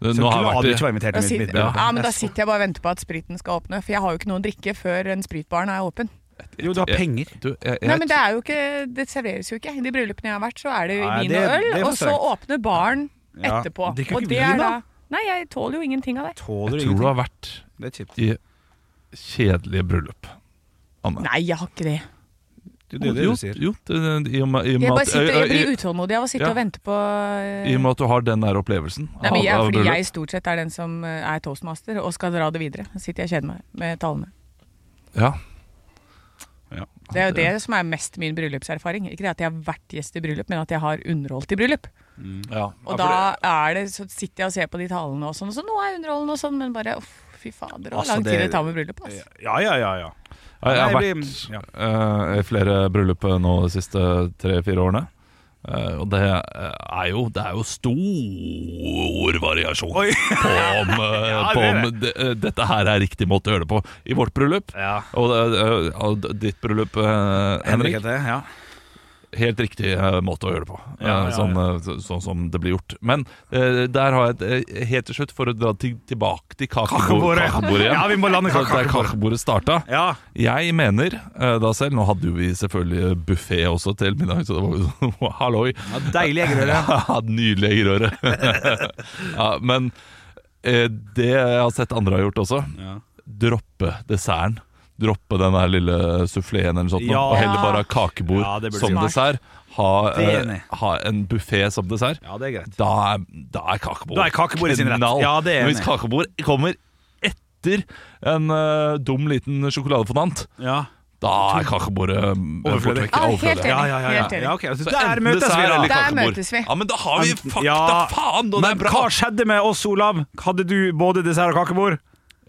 [SPEAKER 3] Så
[SPEAKER 4] Nå har
[SPEAKER 3] glad du
[SPEAKER 4] jeg
[SPEAKER 3] ikke
[SPEAKER 4] vært i
[SPEAKER 3] var invitert
[SPEAKER 2] Da
[SPEAKER 3] til mitt
[SPEAKER 2] sitter,
[SPEAKER 3] middag.
[SPEAKER 2] ja, men da sitter jeg bare og venter på at spriten skal åpne, for jeg har jo ikke noe å drikke før en spritbaren er åpen.
[SPEAKER 3] Jo, du har penger.
[SPEAKER 4] du, jeg,
[SPEAKER 2] Nei,
[SPEAKER 4] jeg,
[SPEAKER 2] men det, er jo ikke, det serveres jo ikke. I de bryllupene jeg har vært, så er det jo
[SPEAKER 3] Nei,
[SPEAKER 2] vin
[SPEAKER 3] det-
[SPEAKER 2] og øl,
[SPEAKER 3] det er for
[SPEAKER 2] og så åpner baren
[SPEAKER 3] Ja,
[SPEAKER 2] etterpå.
[SPEAKER 3] drikker
[SPEAKER 2] Og
[SPEAKER 3] ikke
[SPEAKER 2] det
[SPEAKER 3] vin,
[SPEAKER 2] er da
[SPEAKER 3] da?
[SPEAKER 2] Nei, jeg tåler jo ingenting av det.
[SPEAKER 4] jeg
[SPEAKER 3] Tåler
[SPEAKER 4] tror du
[SPEAKER 3] ingenting.
[SPEAKER 4] har vært
[SPEAKER 3] Det er kjipt.
[SPEAKER 4] i kjedelige bryllup. Anne.
[SPEAKER 2] Nei, jeg har ikke det.
[SPEAKER 3] Det er det
[SPEAKER 4] jo,
[SPEAKER 3] du sier.
[SPEAKER 4] jo, det, det, i, og med, i, og
[SPEAKER 2] Jeg,
[SPEAKER 4] med
[SPEAKER 2] bare
[SPEAKER 4] at,
[SPEAKER 2] sitter, jeg
[SPEAKER 4] i,
[SPEAKER 2] blir utålmodig av å sitte
[SPEAKER 4] ja.
[SPEAKER 2] og vente på eh,
[SPEAKER 4] i, i og med at du har den der opplevelsen
[SPEAKER 2] Nei, men jeg,
[SPEAKER 4] av- av
[SPEAKER 2] fordi
[SPEAKER 4] bryllup.
[SPEAKER 2] jeg stort sett er den som eh, er toastmaster og skal dra det videre. Da sitter jeg og kjeder meg med tallene.
[SPEAKER 4] Ja.
[SPEAKER 2] Det er jo det som er mest min bryllupserfaring. Ikke det at jeg har vært gjest i bryllup, men at jeg har underholdt i bryllup.
[SPEAKER 4] Ja.
[SPEAKER 2] Og da er det, så sitter jeg og ser på de tallene og sånn, og så nå er jeg underholdende og sånn, men bare uff, fy fader, hvor
[SPEAKER 3] Altså,
[SPEAKER 2] lang tid
[SPEAKER 3] det-
[SPEAKER 2] det tar med bryllup. Altså.
[SPEAKER 3] Ja, ja, ja. ja.
[SPEAKER 4] Jeg, jeg har
[SPEAKER 3] Nei,
[SPEAKER 4] vært
[SPEAKER 3] vi- ja.
[SPEAKER 4] eh, i flere bryllup nå de siste tre-fire årene. Eh, og det eh, er jo Det er jo stor variasjon
[SPEAKER 3] Oi.
[SPEAKER 4] på om, eh,
[SPEAKER 3] Ja, det
[SPEAKER 4] på om
[SPEAKER 3] er
[SPEAKER 4] de, eh, dette her er riktig måte å gjøre det på. I vårt bryllup
[SPEAKER 3] Ja.
[SPEAKER 4] og eh, og ditt bryllup, eh,
[SPEAKER 3] Henrik
[SPEAKER 4] Henrik.
[SPEAKER 3] heter det. Ja.
[SPEAKER 4] Helt riktig eh, måte å gjøre det på. Eh,
[SPEAKER 3] Ja, ja, ja.
[SPEAKER 4] Sånn, eh, så- sånn som det blir gjort. Men eh, der har jeg et eh, Helt til slutt, for å dra til, tilbake til kakebord-
[SPEAKER 3] Kakebordet.
[SPEAKER 4] kakebordet igjen.
[SPEAKER 3] Ja, vi må lande
[SPEAKER 4] Så der
[SPEAKER 3] kakebordet.
[SPEAKER 4] kakebordet starta.
[SPEAKER 3] Ja.
[SPEAKER 4] Jeg mener eh, da selv Nå hadde jo vi selvfølgelig buffé også til middag, så det var jo sånn halloi.
[SPEAKER 3] Deilig eggerøre.
[SPEAKER 4] Ja, Nydelig eggerøre. ja, men eh, det jeg har sett andre har gjort også,
[SPEAKER 3] Ja.
[SPEAKER 4] droppe desserten. Droppe den der lille suffleen eller sånt,
[SPEAKER 3] Ja.
[SPEAKER 4] og heller bare ha kakebord
[SPEAKER 3] Ja, det burde
[SPEAKER 4] som
[SPEAKER 3] du gjøre.
[SPEAKER 4] dessert. Ha,
[SPEAKER 3] Det er
[SPEAKER 4] eh,
[SPEAKER 3] enig.
[SPEAKER 4] ha en buffé som dessert.
[SPEAKER 3] Ja, det er greit.
[SPEAKER 4] Da er, da er kakebord
[SPEAKER 3] Da er kakebord i sin rett.
[SPEAKER 4] knall.
[SPEAKER 3] Ja, det er
[SPEAKER 4] Men hvis
[SPEAKER 3] enig.
[SPEAKER 4] kakebord kommer etter en eh, dum liten sjokoladefondant,
[SPEAKER 3] Ja.
[SPEAKER 4] da er kakebordet um,
[SPEAKER 3] Overflødig.
[SPEAKER 4] bortvekk.
[SPEAKER 2] Ja, helt
[SPEAKER 4] Overflødig.
[SPEAKER 2] enig.
[SPEAKER 3] Ja, ja, ja, ja.
[SPEAKER 2] Helt enig.
[SPEAKER 3] ja ok. Så
[SPEAKER 4] Så
[SPEAKER 3] Der
[SPEAKER 4] enten
[SPEAKER 3] møtes vi,
[SPEAKER 4] dessert eller
[SPEAKER 3] da.
[SPEAKER 2] Der
[SPEAKER 4] kakebord.
[SPEAKER 2] møtes vi.
[SPEAKER 4] Ja, men da har vi
[SPEAKER 3] Enten-
[SPEAKER 4] fakta,
[SPEAKER 3] Ja.
[SPEAKER 4] faen! Og det
[SPEAKER 3] Men
[SPEAKER 4] er
[SPEAKER 3] hva
[SPEAKER 4] bra.
[SPEAKER 3] skjedde med oss, Olav? Hadde du både dessert og kakebord?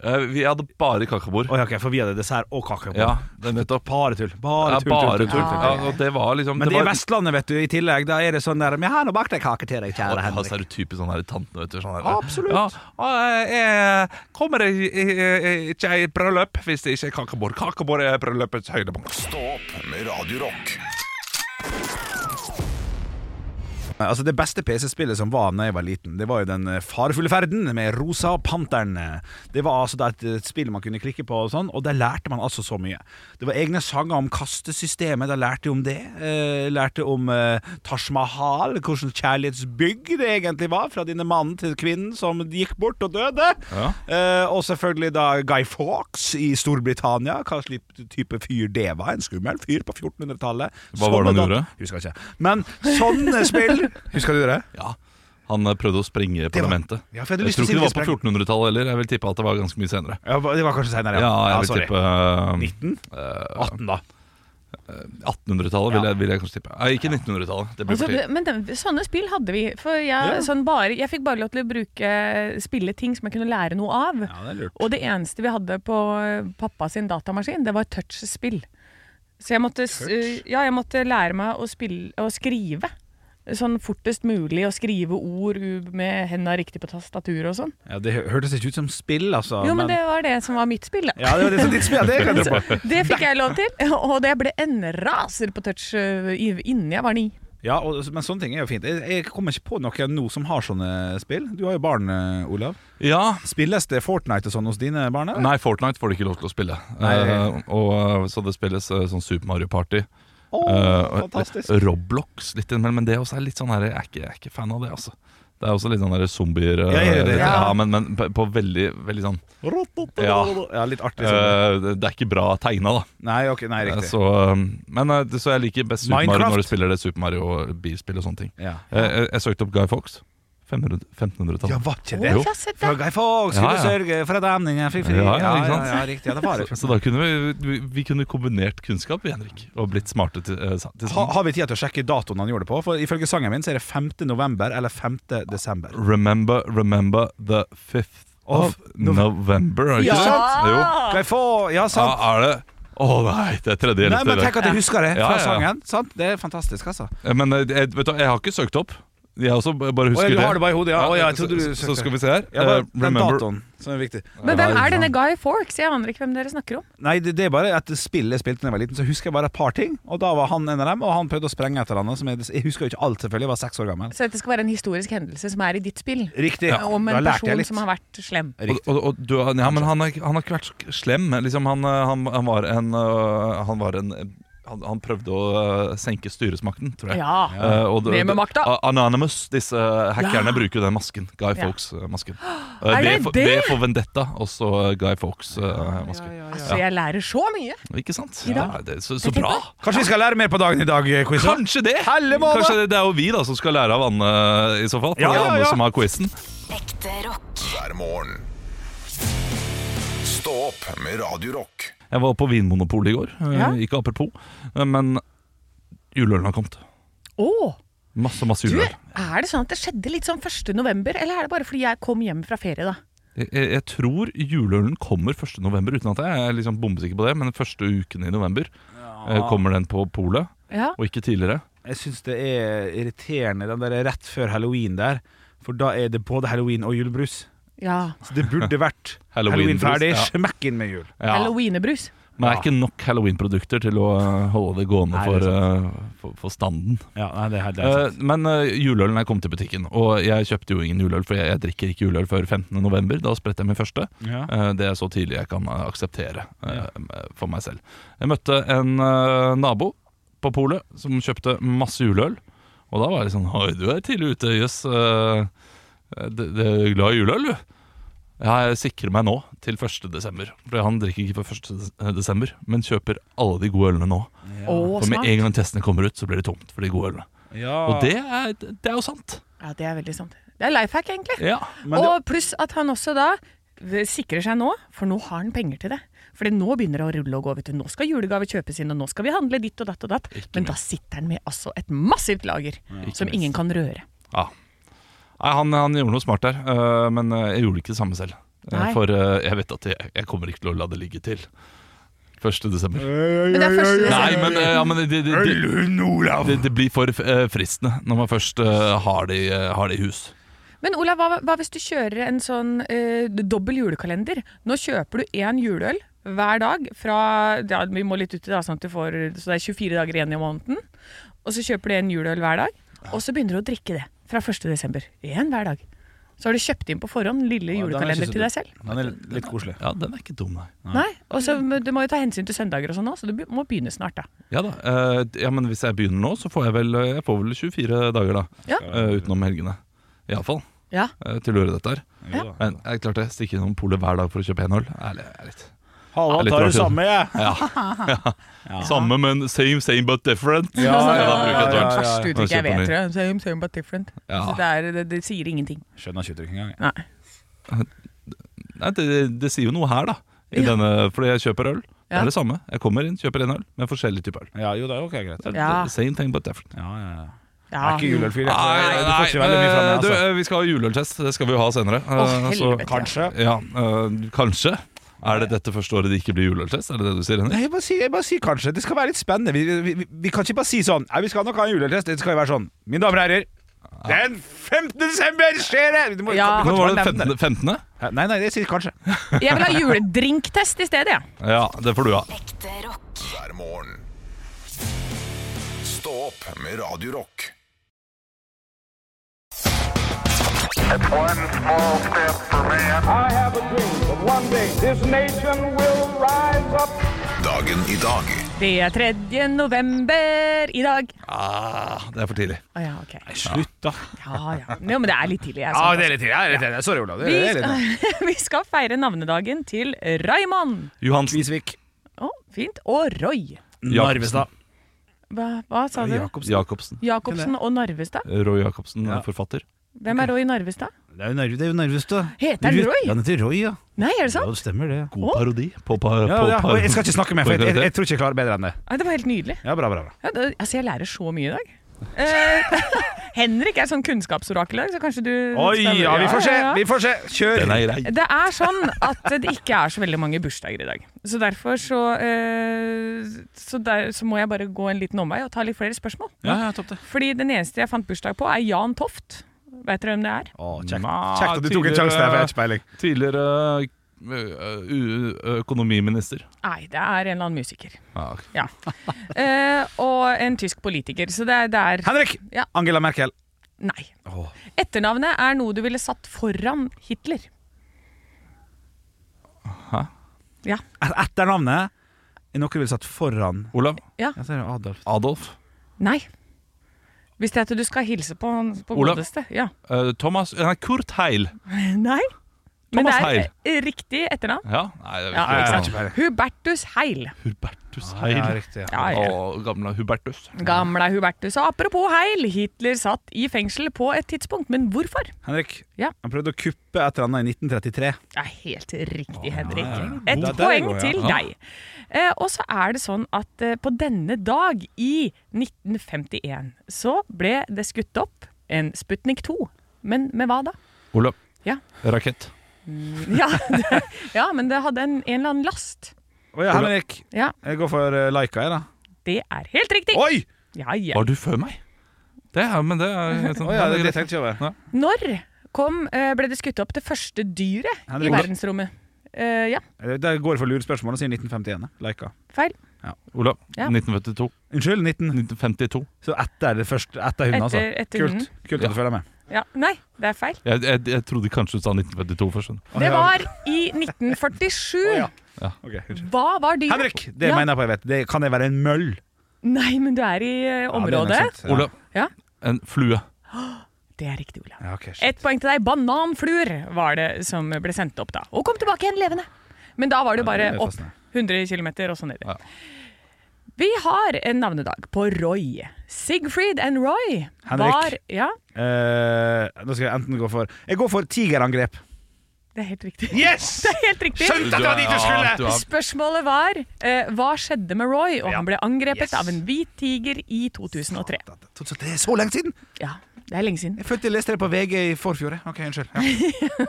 [SPEAKER 4] Eh, Vi hadde bare kakebord.
[SPEAKER 3] Oi, ok, for vi hadde dessert og kake. på.
[SPEAKER 4] Ja, det er nettopp.
[SPEAKER 3] Bare tull. Bare
[SPEAKER 4] Ja,
[SPEAKER 3] tull,
[SPEAKER 4] bare tull.
[SPEAKER 2] tull.
[SPEAKER 4] Ja, og det var liksom
[SPEAKER 3] Men det,
[SPEAKER 4] var,
[SPEAKER 3] er Vestlandet, vet du, i tillegg. Da er det sånn der Men jeg har nå bakt ei kake til deg,
[SPEAKER 4] Og
[SPEAKER 3] kjære
[SPEAKER 4] ja, så
[SPEAKER 3] Henrik.
[SPEAKER 4] er det typisk sånn her tante, vet du. Sånn her.
[SPEAKER 3] Absolutt.
[SPEAKER 4] Ja, og, eh, kommer det eh, ikke ei bryllup hvis det ikke er kakebord? Kakebord er bryllupets høydepunkt.
[SPEAKER 6] Stå opp med Radio Rock.
[SPEAKER 3] Altså, det beste PC-spillet som var da jeg var liten, det var jo Den eh, farefulle ferden med Rosa Panteren. Det var altså da et, et spill man kunne klikke på, og sånn Og der lærte man altså så mye. Det var egne sanger om kastesystemet, da lærte jeg om det. Eh, lærte om eh, Taj Mahal, hvordan kjærlighetsbygg det egentlig var. Fra denne mannen til kvinnen som gikk bort og døde.
[SPEAKER 4] Ja.
[SPEAKER 3] Eh, og selvfølgelig da Guy Fawkes i Storbritannia. Hva slags type fyr det var. En skummel fyr på 1400-tallet.
[SPEAKER 4] Hva var det han
[SPEAKER 3] Sånne
[SPEAKER 4] gjorde?
[SPEAKER 3] da- Husker jeg ikke. Men sånne spill Husker du det?
[SPEAKER 4] Ja. Han eh, prøvde å sprenge
[SPEAKER 3] var-
[SPEAKER 4] parlamentet.
[SPEAKER 3] Ja, for jeg hadde
[SPEAKER 4] jeg
[SPEAKER 3] lyst til
[SPEAKER 4] tror
[SPEAKER 3] å si
[SPEAKER 4] ikke det var på
[SPEAKER 3] spreng-
[SPEAKER 4] 1400-tallet heller. Jeg vil tippe at det var ganske mye senere.
[SPEAKER 3] Ja, det var kanskje senere,
[SPEAKER 4] Ja, jeg vil
[SPEAKER 3] sorry.
[SPEAKER 4] tippe eh,
[SPEAKER 3] 19? 18, da.
[SPEAKER 4] 1800-tallet. Vil, jeg- vil jeg kanskje tippe. Nei, ikke 1900-tallet. Det blir
[SPEAKER 2] Altså,
[SPEAKER 4] for tidlig.
[SPEAKER 2] men den, sånne spill hadde vi. For jeg, sånn bare, jeg fikk bare lov til å bruke spille ting som jeg kunne lære noe av.
[SPEAKER 3] Ja, det er lurt.
[SPEAKER 2] Og det eneste vi hadde på eh, pappa sin datamaskin, det var touchspill. Så jeg måtte, s- eh, ja, jeg måtte lære meg å, spille, å skrive. Sånn fortest mulig å skrive ord u- med henda riktig på tastaturet og sånn.
[SPEAKER 3] Ja, det hø- hørtes ikke ut som spill, altså.
[SPEAKER 2] Jo, men det var det som var mitt spill, da.
[SPEAKER 3] Ja, det var det som ditt spill, det kan jeg tro på.
[SPEAKER 2] Det altså- fikk jeg lov til, og det ble en raser på touch eh, i- innen jeg var ni.
[SPEAKER 3] Ja, og, men sånne ting er jo fint. Jeg, jeg kommer ikke på noen nå som har sånne spill. Du har jo barn, eh, Olav.
[SPEAKER 4] Ja.
[SPEAKER 3] Spilles det Fortnite og sånn hos dine barn? eller?
[SPEAKER 4] Nei, Fortnite får du ikke lov til å spille.
[SPEAKER 3] Nei.
[SPEAKER 4] Eh, og, eh, så det spilles eh, sånn Super Mario Party.
[SPEAKER 3] Åh,
[SPEAKER 4] Eh,
[SPEAKER 3] fantastisk.
[SPEAKER 4] Roblox litt innimellom, men det også er litt sånn her Jeg er ikke, jeg er ikke fan av det, altså. Det er også litt sånn der zombier eh,
[SPEAKER 3] Ja, ja, det-
[SPEAKER 4] litt-
[SPEAKER 2] ja.
[SPEAKER 4] ja, men, men på, på veldig, veldig sånn
[SPEAKER 3] Ja. ja, litt artig. Sånn.
[SPEAKER 4] eh, Det det er ikke bra tegna, da.
[SPEAKER 3] Nei, ok, nei,
[SPEAKER 4] Eh,
[SPEAKER 3] riktig.
[SPEAKER 4] Så, eh, men eh, det- så jeg liker best Super Mario
[SPEAKER 3] Minecraft.
[SPEAKER 4] når du spiller det Super Mario-bilspill og sånne ting.
[SPEAKER 3] Ja.
[SPEAKER 4] Eh, Jeg, jeg søkte opp Guy Fox. 500 1500-tallet.
[SPEAKER 3] ja, var ikke
[SPEAKER 2] Å,
[SPEAKER 3] det?
[SPEAKER 4] Jo.
[SPEAKER 2] jeg har sett
[SPEAKER 3] Fra
[SPEAKER 2] det.
[SPEAKER 3] Guy Fawkes
[SPEAKER 4] Ja,
[SPEAKER 3] skulle
[SPEAKER 4] ja.
[SPEAKER 3] sørge for at amningen fikk fri.
[SPEAKER 4] Ja, ja, ikke
[SPEAKER 3] ja,
[SPEAKER 4] sant?
[SPEAKER 3] ja, riktig. Ja, det var det.
[SPEAKER 4] Så, så da kunne vi, vi, vi kunne kombinert kunnskap, vi, Henrik, og blitt smarte til, eh, sa- til
[SPEAKER 3] Ha,
[SPEAKER 4] sammen.
[SPEAKER 3] har vi tid til å sjekke datoen han gjorde det på? For Ifølge sangen min så er det 5. november eller 5. desember.
[SPEAKER 4] Remember, remember the 5th of
[SPEAKER 3] Of nov-
[SPEAKER 4] November, er det ikke
[SPEAKER 3] Ja!
[SPEAKER 4] sant? Jo.
[SPEAKER 3] Skal jeg få Ja,
[SPEAKER 4] Ja,
[SPEAKER 3] sant?
[SPEAKER 4] er det Å nei, det er tredje
[SPEAKER 3] Nei,
[SPEAKER 4] eller
[SPEAKER 3] men tenk at jeg husker det
[SPEAKER 4] Ja,
[SPEAKER 3] fra
[SPEAKER 4] ja, ja.
[SPEAKER 3] sangen. Sant? Det er fantastisk, altså.
[SPEAKER 4] Men eh, jeg, vet du, jeg har ikke søkt opp. Jeg også b- bare
[SPEAKER 3] Å, ja,
[SPEAKER 4] husker
[SPEAKER 3] du har det bare i hodet, ja. Å, ja, jeg
[SPEAKER 4] så,
[SPEAKER 3] trodde du
[SPEAKER 4] så
[SPEAKER 3] søkte.
[SPEAKER 4] skal vi se her.
[SPEAKER 3] Ja, bare
[SPEAKER 4] Eh,
[SPEAKER 3] den datoen som er viktig.
[SPEAKER 2] Men hvem
[SPEAKER 4] Ja,
[SPEAKER 2] er denne
[SPEAKER 4] ikke
[SPEAKER 2] Guy Fawkes? Jeg aner ikke hvem dere snakker om.
[SPEAKER 3] Nei, det, det er bare at spillet jeg spilte da jeg var liten, så husker jeg bare et par ting. Og da var han en av dem, og han prøvde å sprenge et eller annet. Som jeg, jeg husker jo ikke alt, selvfølgelig. Jeg var seks år gammel.
[SPEAKER 2] Så dette skal være en historisk hendelse som er i ditt spill.
[SPEAKER 3] Riktig.
[SPEAKER 2] Om
[SPEAKER 3] da
[SPEAKER 2] en
[SPEAKER 3] lærte jeg
[SPEAKER 2] person
[SPEAKER 3] litt.
[SPEAKER 2] som har vært slem.
[SPEAKER 4] sant. Og, og, og du, har- ja, men han, har ikke- han har ikke vært så k- slem. Liksom, han, eh, han, han var en, eh, han, var en han, han prøvde å eh, senke styresmakten, tror jeg.
[SPEAKER 2] Ja.
[SPEAKER 4] Eh, og det-
[SPEAKER 2] Ned med makta.
[SPEAKER 4] A- Anonymous, disse eh, hackerne,
[SPEAKER 2] Ja.
[SPEAKER 4] bruker jo den masken. Guy eh,
[SPEAKER 2] Ja.
[SPEAKER 4] Fawkes-masken.
[SPEAKER 2] Er det det?
[SPEAKER 4] V for Vendetta, også eh, Guy Fawkes-masken.
[SPEAKER 2] Altså, jeg lærer så mye!
[SPEAKER 4] Ikke sant?
[SPEAKER 2] I dag.
[SPEAKER 4] Ja, det, så, så
[SPEAKER 2] Jeg tenkte-
[SPEAKER 4] bra!
[SPEAKER 3] Kanskje vi skal lære mer på dagen i dag, eh, quiz?
[SPEAKER 4] Kanskje det!
[SPEAKER 3] Hellemåne!
[SPEAKER 4] Kanskje det, det er jo vi da som skal lære av Anne eh, i så fall. For
[SPEAKER 3] Ja,
[SPEAKER 4] det er
[SPEAKER 3] ja,
[SPEAKER 4] Anne
[SPEAKER 3] ja.
[SPEAKER 4] som har quizen.
[SPEAKER 8] Ekte rock.
[SPEAKER 6] hver morgen. Stå opp med Radio Rock.
[SPEAKER 4] Jeg var på Vinmonopolet i går. eh,
[SPEAKER 2] Ja.
[SPEAKER 4] Ikke apropos, eh, men juleølen har kommet.
[SPEAKER 2] Åh,
[SPEAKER 4] Masse, masse
[SPEAKER 2] du,
[SPEAKER 4] juleøl.
[SPEAKER 2] er det sånn at det skjedde litt sånn 1. november, eller er det bare fordi jeg kom hjem fra ferie da?
[SPEAKER 4] Jeg, jeg jeg tror juleølen kommer 1. november, uten at jeg er liksom bombesikker på det. Men den første uken i november eh, kommer den på polet,
[SPEAKER 2] Ja.
[SPEAKER 4] og ikke tidligere.
[SPEAKER 3] Jeg syns det er irriterende, den der rett før halloween der. For da er det både halloween og julebrus.
[SPEAKER 2] ja.
[SPEAKER 3] Så det burde vært halloween
[SPEAKER 4] Halloween-brus,
[SPEAKER 3] ferdig,
[SPEAKER 4] ja.
[SPEAKER 3] smekk inn med jul.
[SPEAKER 4] Ja.
[SPEAKER 2] Halloweenebrus.
[SPEAKER 4] Men det er ikke nok halloweenprodukter til å eh, holde det gående
[SPEAKER 3] Nei,
[SPEAKER 4] for,
[SPEAKER 3] det er
[SPEAKER 4] eh, for, for standen.
[SPEAKER 3] Ja, nei, det er, det
[SPEAKER 4] Eh, men eh, juleølen er kommet til butikken, og jeg kjøpte jo ingen juleøl, for jeg, jeg drikker ikke juleøl før 15. november. Da spretter jeg min første.
[SPEAKER 3] ja.
[SPEAKER 4] Eh, det er så tidlig jeg kan eh, akseptere eh, for meg selv. Jeg møtte en eh, nabo på polet som kjøpte masse juleøl, og da var jeg litt sånn Oi, du er tidlig ute, jøss. eh, det, det er glad i juleøl, du. Ja, jeg sikrer meg nå til 1. desember. For han drikker ikke før 1. des- eh, desember, men kjøper alle de gode ølene nå.
[SPEAKER 2] Å,
[SPEAKER 4] For med
[SPEAKER 2] smart.
[SPEAKER 4] en gang testene kommer ut, så blir det tomt for de gode ølene.
[SPEAKER 3] Ja.
[SPEAKER 4] Og det er, det er jo sant.
[SPEAKER 2] Ja, det er veldig sant. Det er life hack, egentlig.
[SPEAKER 4] Ja.
[SPEAKER 3] Men det,
[SPEAKER 2] Og pluss at han også da v- sikrer seg nå, for nå har han penger til det. Fordi nå begynner det å rulle og gå. vet du. Nå skal julegaver kjøpes inn, og nå skal vi handle ditt og datt og datt. Men da sitter han med altså et massivt lager som
[SPEAKER 4] Ikke
[SPEAKER 2] ingen kan røre.
[SPEAKER 4] Nei, han, han gjorde noe smart der, øh, men øh, eh, jeg gjorde det ikke det samme selv. Eh,
[SPEAKER 2] Nei.
[SPEAKER 4] For eh, jeg vet at jeg, jeg kommer ikke til å la det ligge til 1. desember.
[SPEAKER 2] Men det er første
[SPEAKER 4] Nei,
[SPEAKER 2] desember.
[SPEAKER 4] men, eh, ja, men det, det, det,
[SPEAKER 7] Lund Olav!
[SPEAKER 4] det, det blir for eh, fristende når man først eh, har, det, i- har det i hus.
[SPEAKER 2] Men Olav, hva, hva hvis du kjører en sånn eh, dobbel julekalender? Nå kjøper du én juleøl hver dag fra ja, Vi må litt uti, da, sånn at du får, så det er 24 dager igjen i måneden. Og så kjøper du en juleøl hver dag, og så begynner du å drikke det fra 1. desember. Én hver dag. Så har du kjøpt inn på forhånd den lille
[SPEAKER 3] Ja, den er
[SPEAKER 2] julekalender
[SPEAKER 3] ikke så
[SPEAKER 2] til deg selv.
[SPEAKER 3] Den er litt koselig.
[SPEAKER 4] Ja, den er ikke dum, nei.
[SPEAKER 2] Nei, og så må- Du må jo ta hensyn til søndager og sånn også, så du be- må begynne snart, da.
[SPEAKER 4] Ja da, eh, ja, men hvis jeg begynner nå, så får jeg vel, eh, jeg får vel 24 dager da.
[SPEAKER 2] Ja.
[SPEAKER 4] Eh, utenom helgene. Iallfall
[SPEAKER 2] Ja.
[SPEAKER 4] uh, til å gjøre dette her.
[SPEAKER 3] Jo da.
[SPEAKER 4] Men jeg klarte jeg stikker innom polet hver dag for å kjøpe en øl. Er litt, er litt.
[SPEAKER 3] Halvard
[SPEAKER 4] Litt
[SPEAKER 3] tar
[SPEAKER 4] rart,
[SPEAKER 3] det samme, jeg.
[SPEAKER 4] Samme, men same, same but different. Ja, da bruker jeg
[SPEAKER 2] det
[SPEAKER 4] et
[SPEAKER 2] er
[SPEAKER 4] øl.
[SPEAKER 2] det verste uttrykket jeg
[SPEAKER 4] Kjøper
[SPEAKER 2] vet,
[SPEAKER 4] ny.
[SPEAKER 2] tror jeg. Same, same, but different.
[SPEAKER 4] Ja.
[SPEAKER 2] Så det, er, det, det sier ingenting.
[SPEAKER 3] Skjønner ikke uttrykket engang.
[SPEAKER 2] Nei.
[SPEAKER 4] Nei, det, det sier jo noe her, da. I
[SPEAKER 2] Ja.
[SPEAKER 4] denne, fordi jeg kjøper øl. Det
[SPEAKER 2] Ja.
[SPEAKER 4] er det samme. Jeg kommer inn, kjøper en øl med forskjellig type øl.
[SPEAKER 3] Ja, jo da, ok, greit.
[SPEAKER 4] Det er
[SPEAKER 2] Ja.
[SPEAKER 4] det Same thing but different.
[SPEAKER 3] Ja, ja, Ah, ja. Jeg
[SPEAKER 2] Ja.
[SPEAKER 3] er ikke juleølfyr. jeg.
[SPEAKER 4] Nei,
[SPEAKER 3] Du får ikke veldig mye fra
[SPEAKER 4] eh,
[SPEAKER 3] meg,
[SPEAKER 4] du,
[SPEAKER 3] altså.
[SPEAKER 4] eh, vi skal ha juleøltest. Det skal vi jo ha senere.
[SPEAKER 2] Å,
[SPEAKER 4] Eh, så-
[SPEAKER 2] helvete.
[SPEAKER 3] Kanskje.
[SPEAKER 4] ja, eh, kanskje. Er det dette første året det ikke blir juleøltest? Er det det du sier, Henrik?
[SPEAKER 3] Nei, jeg bare sier, jeg bare sier kanskje. Det skal være litt spennende. Vi, vi, vi, vi kan ikke bare si sånn Nei, vi skal nok ha en juletest. Det skal jo være sånn. Mine damer og herrer, den 15. desember skjer det! Du må,
[SPEAKER 2] Ja.
[SPEAKER 3] du
[SPEAKER 4] Nå
[SPEAKER 3] kan ikke
[SPEAKER 4] var
[SPEAKER 3] bare
[SPEAKER 4] det
[SPEAKER 3] nevne
[SPEAKER 4] 15. 15.
[SPEAKER 3] det. Nei, nei, jeg sier kanskje.
[SPEAKER 2] Jeg vil ha juledrinktest i stedet, jeg.
[SPEAKER 4] Ja, det får du ha.
[SPEAKER 8] Ekte rock.
[SPEAKER 6] hver morgen. Stå opp med Radio Rock.
[SPEAKER 9] I have a dream that one day this nation will rise up.
[SPEAKER 6] Dagen i dag
[SPEAKER 2] Det er 3. november i dag.
[SPEAKER 4] Ah, det er for tidlig.
[SPEAKER 2] Å ja, ok.
[SPEAKER 3] Slutt, da.
[SPEAKER 2] Ja, ja. Jo, men det er litt tidlig. Jeg, er
[SPEAKER 3] Ja,
[SPEAKER 2] sånn.
[SPEAKER 3] det er litt tidlig. Ja, det er litt tidlig. Sorry, Olav. Det er- det er litt tidlig.
[SPEAKER 2] vi, skal, vi skal feire navnedagen til Raymond.
[SPEAKER 4] Johansen.
[SPEAKER 3] Kvisvik.
[SPEAKER 2] Å, fint. Og Roy.
[SPEAKER 4] Narvestad.
[SPEAKER 2] Hva, hva sa du?
[SPEAKER 3] Jakobsen.
[SPEAKER 4] Jacobsen.
[SPEAKER 2] Jacobsen og Narvestad?
[SPEAKER 4] Roy Jacobsen, er forfatter.
[SPEAKER 2] Hvem er Roy Narvestad?
[SPEAKER 3] Det er jo Narv- det er jo Narvestad.
[SPEAKER 2] Heter han
[SPEAKER 3] Du vet-
[SPEAKER 2] Roy?
[SPEAKER 3] Ja, han heter Roy, ja.
[SPEAKER 2] Nei, er det
[SPEAKER 3] Ja,
[SPEAKER 2] sant?
[SPEAKER 3] det stemmer, det.
[SPEAKER 4] God
[SPEAKER 2] Å.
[SPEAKER 4] parodi på, pa,
[SPEAKER 3] Ja,
[SPEAKER 4] på
[SPEAKER 3] ja.
[SPEAKER 4] par-
[SPEAKER 3] og Jeg skal ikke snakke mer, for jeg, jeg, jeg tror ikke jeg klarer bedre enn det.
[SPEAKER 2] Nei, det var helt nydelig.
[SPEAKER 3] Ja, bra, bra, bra.
[SPEAKER 2] Ja, det, altså, jeg lærer så mye i dag. Eh, Henrik er sånn kunnskapsorakel i dag, så kanskje du
[SPEAKER 3] Oi, ja, vi får se!
[SPEAKER 2] ja, ja.
[SPEAKER 3] Vi får se. Kjør!
[SPEAKER 4] Den er grei.
[SPEAKER 2] Det er sånn at det ikke er så veldig mange bursdager i dag. Så derfor så eh, så, der, så må jeg bare gå en liten omvei og ta litt flere spørsmål.
[SPEAKER 3] Ja, ja, topp det.
[SPEAKER 2] Fordi den eneste jeg fant bursdag på, er Jan Toft. Vet dere hvem det er?
[SPEAKER 3] Å, kjekt.
[SPEAKER 4] Nei,
[SPEAKER 3] kjekt at du tok en sjanse der, for jeg har ikke peiling.
[SPEAKER 4] Tidligere ø, ø, ø, økonomiminister.
[SPEAKER 2] Nei, det er en eller annen musiker.
[SPEAKER 4] Ja,
[SPEAKER 2] Ja. Eh, og en tysk politiker. Så det er, det er
[SPEAKER 3] Henrik!
[SPEAKER 2] Ja.
[SPEAKER 3] Angela Merkel.
[SPEAKER 2] Nei. Etternavnet er noe du ville satt foran Hitler.
[SPEAKER 4] Hæ?
[SPEAKER 2] Ja.
[SPEAKER 3] Et- Etternavnet er noe du ville satt foran
[SPEAKER 4] Olav.
[SPEAKER 2] ja.
[SPEAKER 3] Jeg sier Adolf.
[SPEAKER 4] Adolf.
[SPEAKER 2] Nei. Hvis det er at du skal hilse på, på
[SPEAKER 4] Olav.
[SPEAKER 2] godeste. Ja.
[SPEAKER 4] ø, Thomas Nei, Kurt Heil.
[SPEAKER 2] Nei. Men det
[SPEAKER 4] Thomas
[SPEAKER 2] er
[SPEAKER 4] Heil.
[SPEAKER 2] eh, riktig etternavn.
[SPEAKER 4] Ja, nei, det er
[SPEAKER 2] Ja,
[SPEAKER 4] ikke
[SPEAKER 2] ikke
[SPEAKER 4] det.
[SPEAKER 2] sant? Hubertus Heil.
[SPEAKER 4] Hubertus Heil.
[SPEAKER 3] riktig.
[SPEAKER 2] Ja, ja.
[SPEAKER 4] Å, gamle Hubertus.
[SPEAKER 2] Gamla Hubertus. Og apropos Heil, Hitler satt i fengsel på et tidspunkt, men hvorfor?
[SPEAKER 3] Henrik,
[SPEAKER 2] Ja.
[SPEAKER 3] han prøvde å kuppe et eller annet i 1933.
[SPEAKER 2] Det er helt riktig, Henrik.
[SPEAKER 3] ja.
[SPEAKER 2] Et
[SPEAKER 3] Der- der
[SPEAKER 2] poeng
[SPEAKER 3] går jeg.
[SPEAKER 2] til
[SPEAKER 4] Ja.
[SPEAKER 2] deg. Eh, og så er det sånn at eh, på denne dag i 1951 så ble det skutt opp en Sputnik 2. Men med hva da?
[SPEAKER 4] Olav.
[SPEAKER 2] Ja.
[SPEAKER 4] Rakett.
[SPEAKER 2] Ja, det, ja men det hadde en, en eller annen last.
[SPEAKER 3] Å ja, Henrik.
[SPEAKER 2] Ja,
[SPEAKER 3] Jeg går for eh, Laika, jeg, da.
[SPEAKER 2] det er helt riktig.
[SPEAKER 3] Oi!
[SPEAKER 2] Ja, ja.
[SPEAKER 4] Var du før meg? Det er, men det er helt sånn.
[SPEAKER 3] Å ja, det,
[SPEAKER 4] Nei,
[SPEAKER 3] det tenkte jeg over.
[SPEAKER 2] Når kom, eh, ble det skutt opp det første dyret i
[SPEAKER 3] Henrik Olav.
[SPEAKER 2] verdensrommet? Eh, ja,
[SPEAKER 3] Eh, Der går jeg for lurespørsmål og sier 1951. ja. Laika.
[SPEAKER 2] feil.
[SPEAKER 4] Olav.
[SPEAKER 2] Ja.
[SPEAKER 4] 1952.
[SPEAKER 3] Unnskyld, 19...
[SPEAKER 4] 1952.
[SPEAKER 3] Så etter det første, etter hunden, altså.
[SPEAKER 2] Etter- etter hunden.
[SPEAKER 3] Kult Kult at
[SPEAKER 4] Ja.
[SPEAKER 3] du følger med.
[SPEAKER 2] Ja, nei, det er feil.
[SPEAKER 4] Jeg, jeg, jeg trodde kanskje du sa 1952 først. skjønner du.
[SPEAKER 2] Det var i 1947.
[SPEAKER 3] Å, ja. Ok, unnskyld.
[SPEAKER 2] Hva var dyret?
[SPEAKER 3] Henrik! Det
[SPEAKER 2] Ja.
[SPEAKER 3] mener jeg på jeg vet. Det kan det være en møll?
[SPEAKER 2] Nei, men du er i eh,
[SPEAKER 3] Ja, det er nok
[SPEAKER 2] området.
[SPEAKER 3] sant. Ja.
[SPEAKER 4] Olav.
[SPEAKER 2] Ja.
[SPEAKER 4] En flue.
[SPEAKER 2] det er riktig, Olav.
[SPEAKER 3] Ja, ok, shit.
[SPEAKER 2] Ett poeng til deg. Bananfluer var det som ble sendt opp da. Og kom tilbake igjen levende. Men da var det jo bare
[SPEAKER 3] det er
[SPEAKER 2] opp
[SPEAKER 3] fascinerende.
[SPEAKER 2] 100 km og så ned. Vi har en navnedag på Roy. Sigfried and Roy
[SPEAKER 3] Henrik.
[SPEAKER 2] var ja,
[SPEAKER 3] Eh, nå skal jeg enten gå for Jeg går for tigerangrep.
[SPEAKER 2] Det er helt riktig.
[SPEAKER 7] Yes!
[SPEAKER 2] Det er helt riktig.
[SPEAKER 7] Skjønte at det var dit du skulle!
[SPEAKER 4] du er-
[SPEAKER 2] Spørsmålet var eh, hva skjedde med Roy, og
[SPEAKER 7] Ja.
[SPEAKER 2] han ble angrepet
[SPEAKER 7] Yes.
[SPEAKER 2] av en hvit tiger i 2003.
[SPEAKER 3] Det er så lenge siden!
[SPEAKER 2] Ja, det er lenge siden.
[SPEAKER 3] Jeg følte jeg leste det på VG i forfjor. Ok, unnskyld. Ja.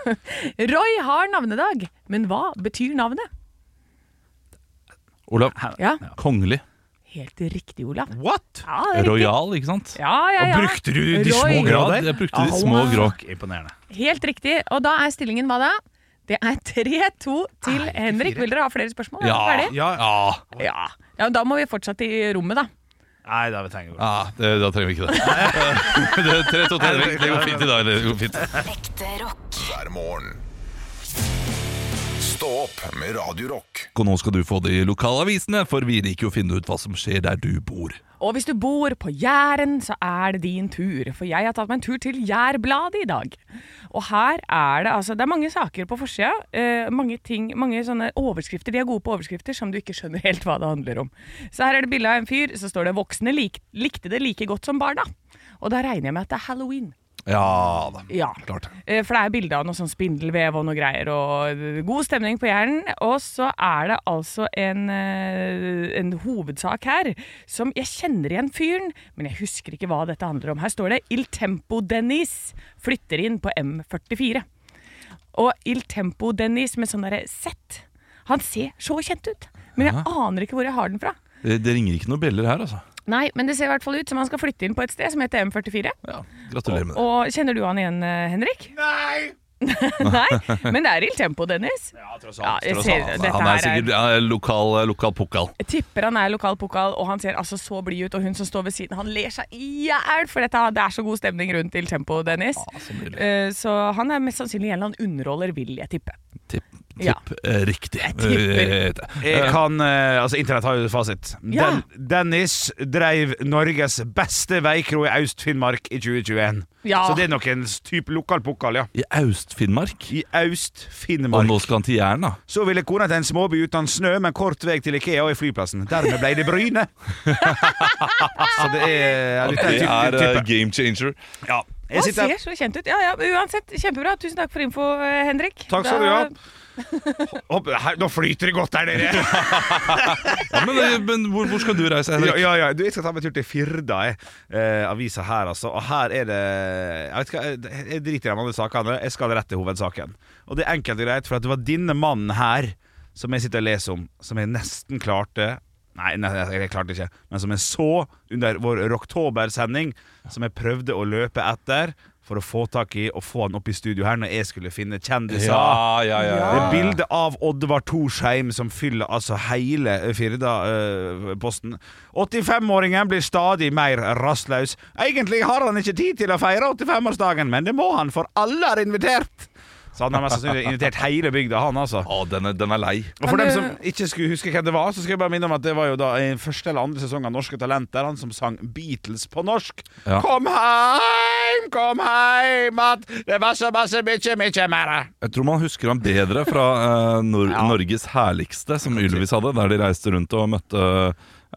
[SPEAKER 2] Roy har navnedag, men hva betyr navnet?
[SPEAKER 4] Olav,
[SPEAKER 2] Ja,
[SPEAKER 4] kongelig.
[SPEAKER 2] helt riktig, Olav.
[SPEAKER 3] What?!
[SPEAKER 2] Ja, det er riktig.
[SPEAKER 4] Royal, ikke sant?
[SPEAKER 2] Ja, ja, ja.
[SPEAKER 3] Brukte du de
[SPEAKER 2] Roy.
[SPEAKER 3] små
[SPEAKER 4] Ja,
[SPEAKER 3] grader?
[SPEAKER 4] jeg brukte de små
[SPEAKER 2] Au.
[SPEAKER 4] grå.
[SPEAKER 3] Imponerende.
[SPEAKER 2] Helt riktig. Og da er stillingen hva da? Det er 3-2 til Henrik. Vil dere ha flere spørsmål? Er dere ferdig?
[SPEAKER 4] ja. ja.
[SPEAKER 2] Ja. ja, Da må vi fortsatt i rommet, da.
[SPEAKER 3] Nei, da vi trenger vi
[SPEAKER 4] Ja, det, da trenger vi ikke det. det, er tre, to, tre, det det går fint i dag. Det går fint.
[SPEAKER 8] Ekte rock.
[SPEAKER 6] hver morgen. Stå opp med Radio Rock.
[SPEAKER 4] Og nå skal du få de lokale avisene, for vi liker jo å finne ut hva som skjer der du bor.
[SPEAKER 2] Og hvis du bor på Jæren, så er det din tur. For jeg har tatt meg en tur til Jærbladet i dag. Og her er det altså Det er mange saker på forsida. Eh, mange ting, mange sånne overskrifter. De er gode på overskrifter som du ikke skjønner helt hva det handler om. Så her er det bilde av en fyr. Så står det 'Voksne lik, likte det like godt som barna'. Og da regner jeg med at det er halloween.
[SPEAKER 4] Ja da.
[SPEAKER 2] Ja.
[SPEAKER 4] Klart.
[SPEAKER 2] Eh, For det er bilde av noe sånn spindelvev og noe greier, og eh, god stemning på Jæren. Og så er det altså en, eh, en hovedsak her som Jeg kjenner igjen fyren, men jeg husker ikke hva dette handler om. Her står det Il Tempo Dennis flytter inn på M44. Og Il Tempo Dennis med sånn derre Z. Han ser så kjent ut, men jeg aner ikke hvor jeg har den fra.
[SPEAKER 4] Det, det ringer ikke noen bjeller her, altså.
[SPEAKER 2] Nei, men det ser i hvert fall ut som han skal flytte inn på et sted som heter M44.
[SPEAKER 4] Ja, Gratulerer med det.
[SPEAKER 2] Og kjenner du han igjen, eh, Henrik?
[SPEAKER 7] Nei!
[SPEAKER 2] Nei, men det er Il Tempo, Dennis.
[SPEAKER 3] Ja, tross
[SPEAKER 2] Ja,
[SPEAKER 3] alt.
[SPEAKER 2] jeg
[SPEAKER 3] tross
[SPEAKER 2] ser
[SPEAKER 3] alt.
[SPEAKER 2] dette
[SPEAKER 4] Han er
[SPEAKER 2] her
[SPEAKER 4] sikkert
[SPEAKER 2] er
[SPEAKER 4] ja, lokal, eh, lokal pokal.
[SPEAKER 2] jeg tipper han er lokal pokal, og han ser altså så blid ut. Og hun som står ved siden, han ler seg i hjel, for dette, det er så god stemning rundt Il Tempo, Dennis.
[SPEAKER 4] Så nydelig.
[SPEAKER 2] Eh, Så han er mest sannsynlig en eller annen underholder, vil jeg tippe.
[SPEAKER 4] Tipp, tipp
[SPEAKER 2] Ja.
[SPEAKER 4] eh, riktig.
[SPEAKER 2] tipper.
[SPEAKER 4] Eh,
[SPEAKER 3] Jeg kan, eh, altså Internett har jo fasit.
[SPEAKER 2] Ja.
[SPEAKER 3] Den, Dennis dreiv Norges beste veikro i Aust-Finnmark i 2021.
[SPEAKER 2] Ja.
[SPEAKER 3] Så det er nok en type lokal pokal, ja.
[SPEAKER 4] I Aust-Finnmark.
[SPEAKER 3] I
[SPEAKER 4] Og nå
[SPEAKER 3] Aust-Finnmark.
[SPEAKER 4] skal han til Jæren, da.
[SPEAKER 3] Så ville kona til en småby uten snø, men kort vei til Ikea og i flyplassen. Dermed ble det Bryne. så det er ja, litt
[SPEAKER 4] Det er eh,
[SPEAKER 3] type.
[SPEAKER 4] game changer.
[SPEAKER 3] Ja. Jeg
[SPEAKER 2] Han
[SPEAKER 3] sitter
[SPEAKER 2] ser så kjent ut. Ja, ja, men uansett, kjempebra. Tusen takk for info, eh, Henrik.
[SPEAKER 3] Takk skal du ha.
[SPEAKER 2] Da-
[SPEAKER 3] Hopp, her, nå flyter det godt der, dere.
[SPEAKER 4] Ja, men eh, men hvor, hvor skal du reise,
[SPEAKER 3] Ja,
[SPEAKER 4] Henrik?
[SPEAKER 3] ja, ja. Du, jeg skal ta meg en tur til Firda, jeg. Eh, avisa her, altså. Og her er det Jeg vet ikke, eh, jeg- jeg driter i de andre sakene. Jeg skal rett til hovedsaken. Og det er enkelt og greit, for at det var denne mannen her som jeg sitter og leser om, som jeg nesten klarte Nei, nei jeg klarte ikke, men som jeg så under vår Rocktober-sending, som jeg prøvde å løpe etter for å få tak i og få han opp i studio her når jeg skulle finne kjendiser.
[SPEAKER 4] ja, ja.
[SPEAKER 3] Det er bilde av Oddvar Torsheim som fyller altså hele Firda-posten. 85-åringen blir stadig mer rastløs. Egentlig har han ikke tid til å feire 85-årsdagen, men det må han, for alle er invitert! Så han har mest sannsynlig invitert hele bygda, han altså.
[SPEAKER 4] Å, den, er, den er lei.
[SPEAKER 3] Og for dem som ikke skulle huske hvem det var, så skal jeg bare minne om at det var jo da i første eller andre sesong av Norske Talenter, han som sang Beatles på norsk.
[SPEAKER 4] Ja.
[SPEAKER 3] Kom heim, kom heim, at det var så masse mye, mye mer.
[SPEAKER 4] Jeg tror man husker han bedre fra eh, Nor Norges herligste, som Ylvis hadde, der de reiste rundt og møtte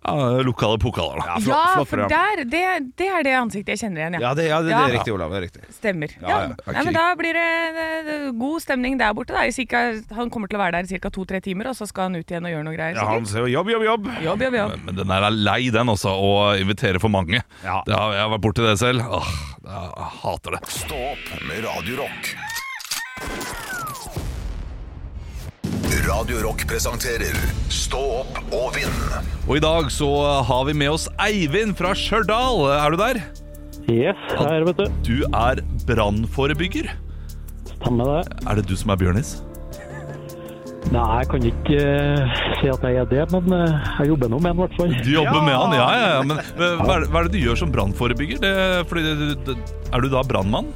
[SPEAKER 4] ja, lokale pokaler. Da.
[SPEAKER 3] flott-
[SPEAKER 2] Ja,
[SPEAKER 3] flott
[SPEAKER 2] for
[SPEAKER 3] program.
[SPEAKER 2] der, det, det er det ansiktet jeg kjenner igjen,
[SPEAKER 3] Ja, det, ja, det,
[SPEAKER 2] Ja.
[SPEAKER 3] det er riktig, Olav. Det er riktig.
[SPEAKER 2] Stemmer. Ja,
[SPEAKER 3] ja.
[SPEAKER 2] Nei, men da blir det eh, god stemning der borte. Da. I cirka, han kommer til å være der i ca. to-tre timer, og så skal han ut igjen og gjøre noe greier.
[SPEAKER 3] Ja, han
[SPEAKER 2] sikkert.
[SPEAKER 3] sier jo jobb, jobb, jobb.
[SPEAKER 2] Jobb, jobb, jobb.
[SPEAKER 4] Men den er lei, den også, å invitere for mange.
[SPEAKER 3] Ja.
[SPEAKER 4] Det har, jeg har vært borti det selv. Åh, jeg hater det.
[SPEAKER 6] Stå opp med Radio Rock. Radio Rock presenterer Stå opp og vinn
[SPEAKER 4] Og i dag så har vi med oss Eivind fra Stjørdal. Er du der?
[SPEAKER 10] Yes, her, vet du.
[SPEAKER 4] Du er brannforebygger.
[SPEAKER 10] Stemmer det.
[SPEAKER 4] Er det du som er Bjørnis?
[SPEAKER 10] Nei, jeg kan ikke eh, si at jeg er det, men eh, jeg jobber nå med den, i hvert fall.
[SPEAKER 4] Du jobber med han, ja, ja. ja. Men men hva er, det- hva er det du gjør som brannforebygger? Det- fordi det- det- Er du da brannmann?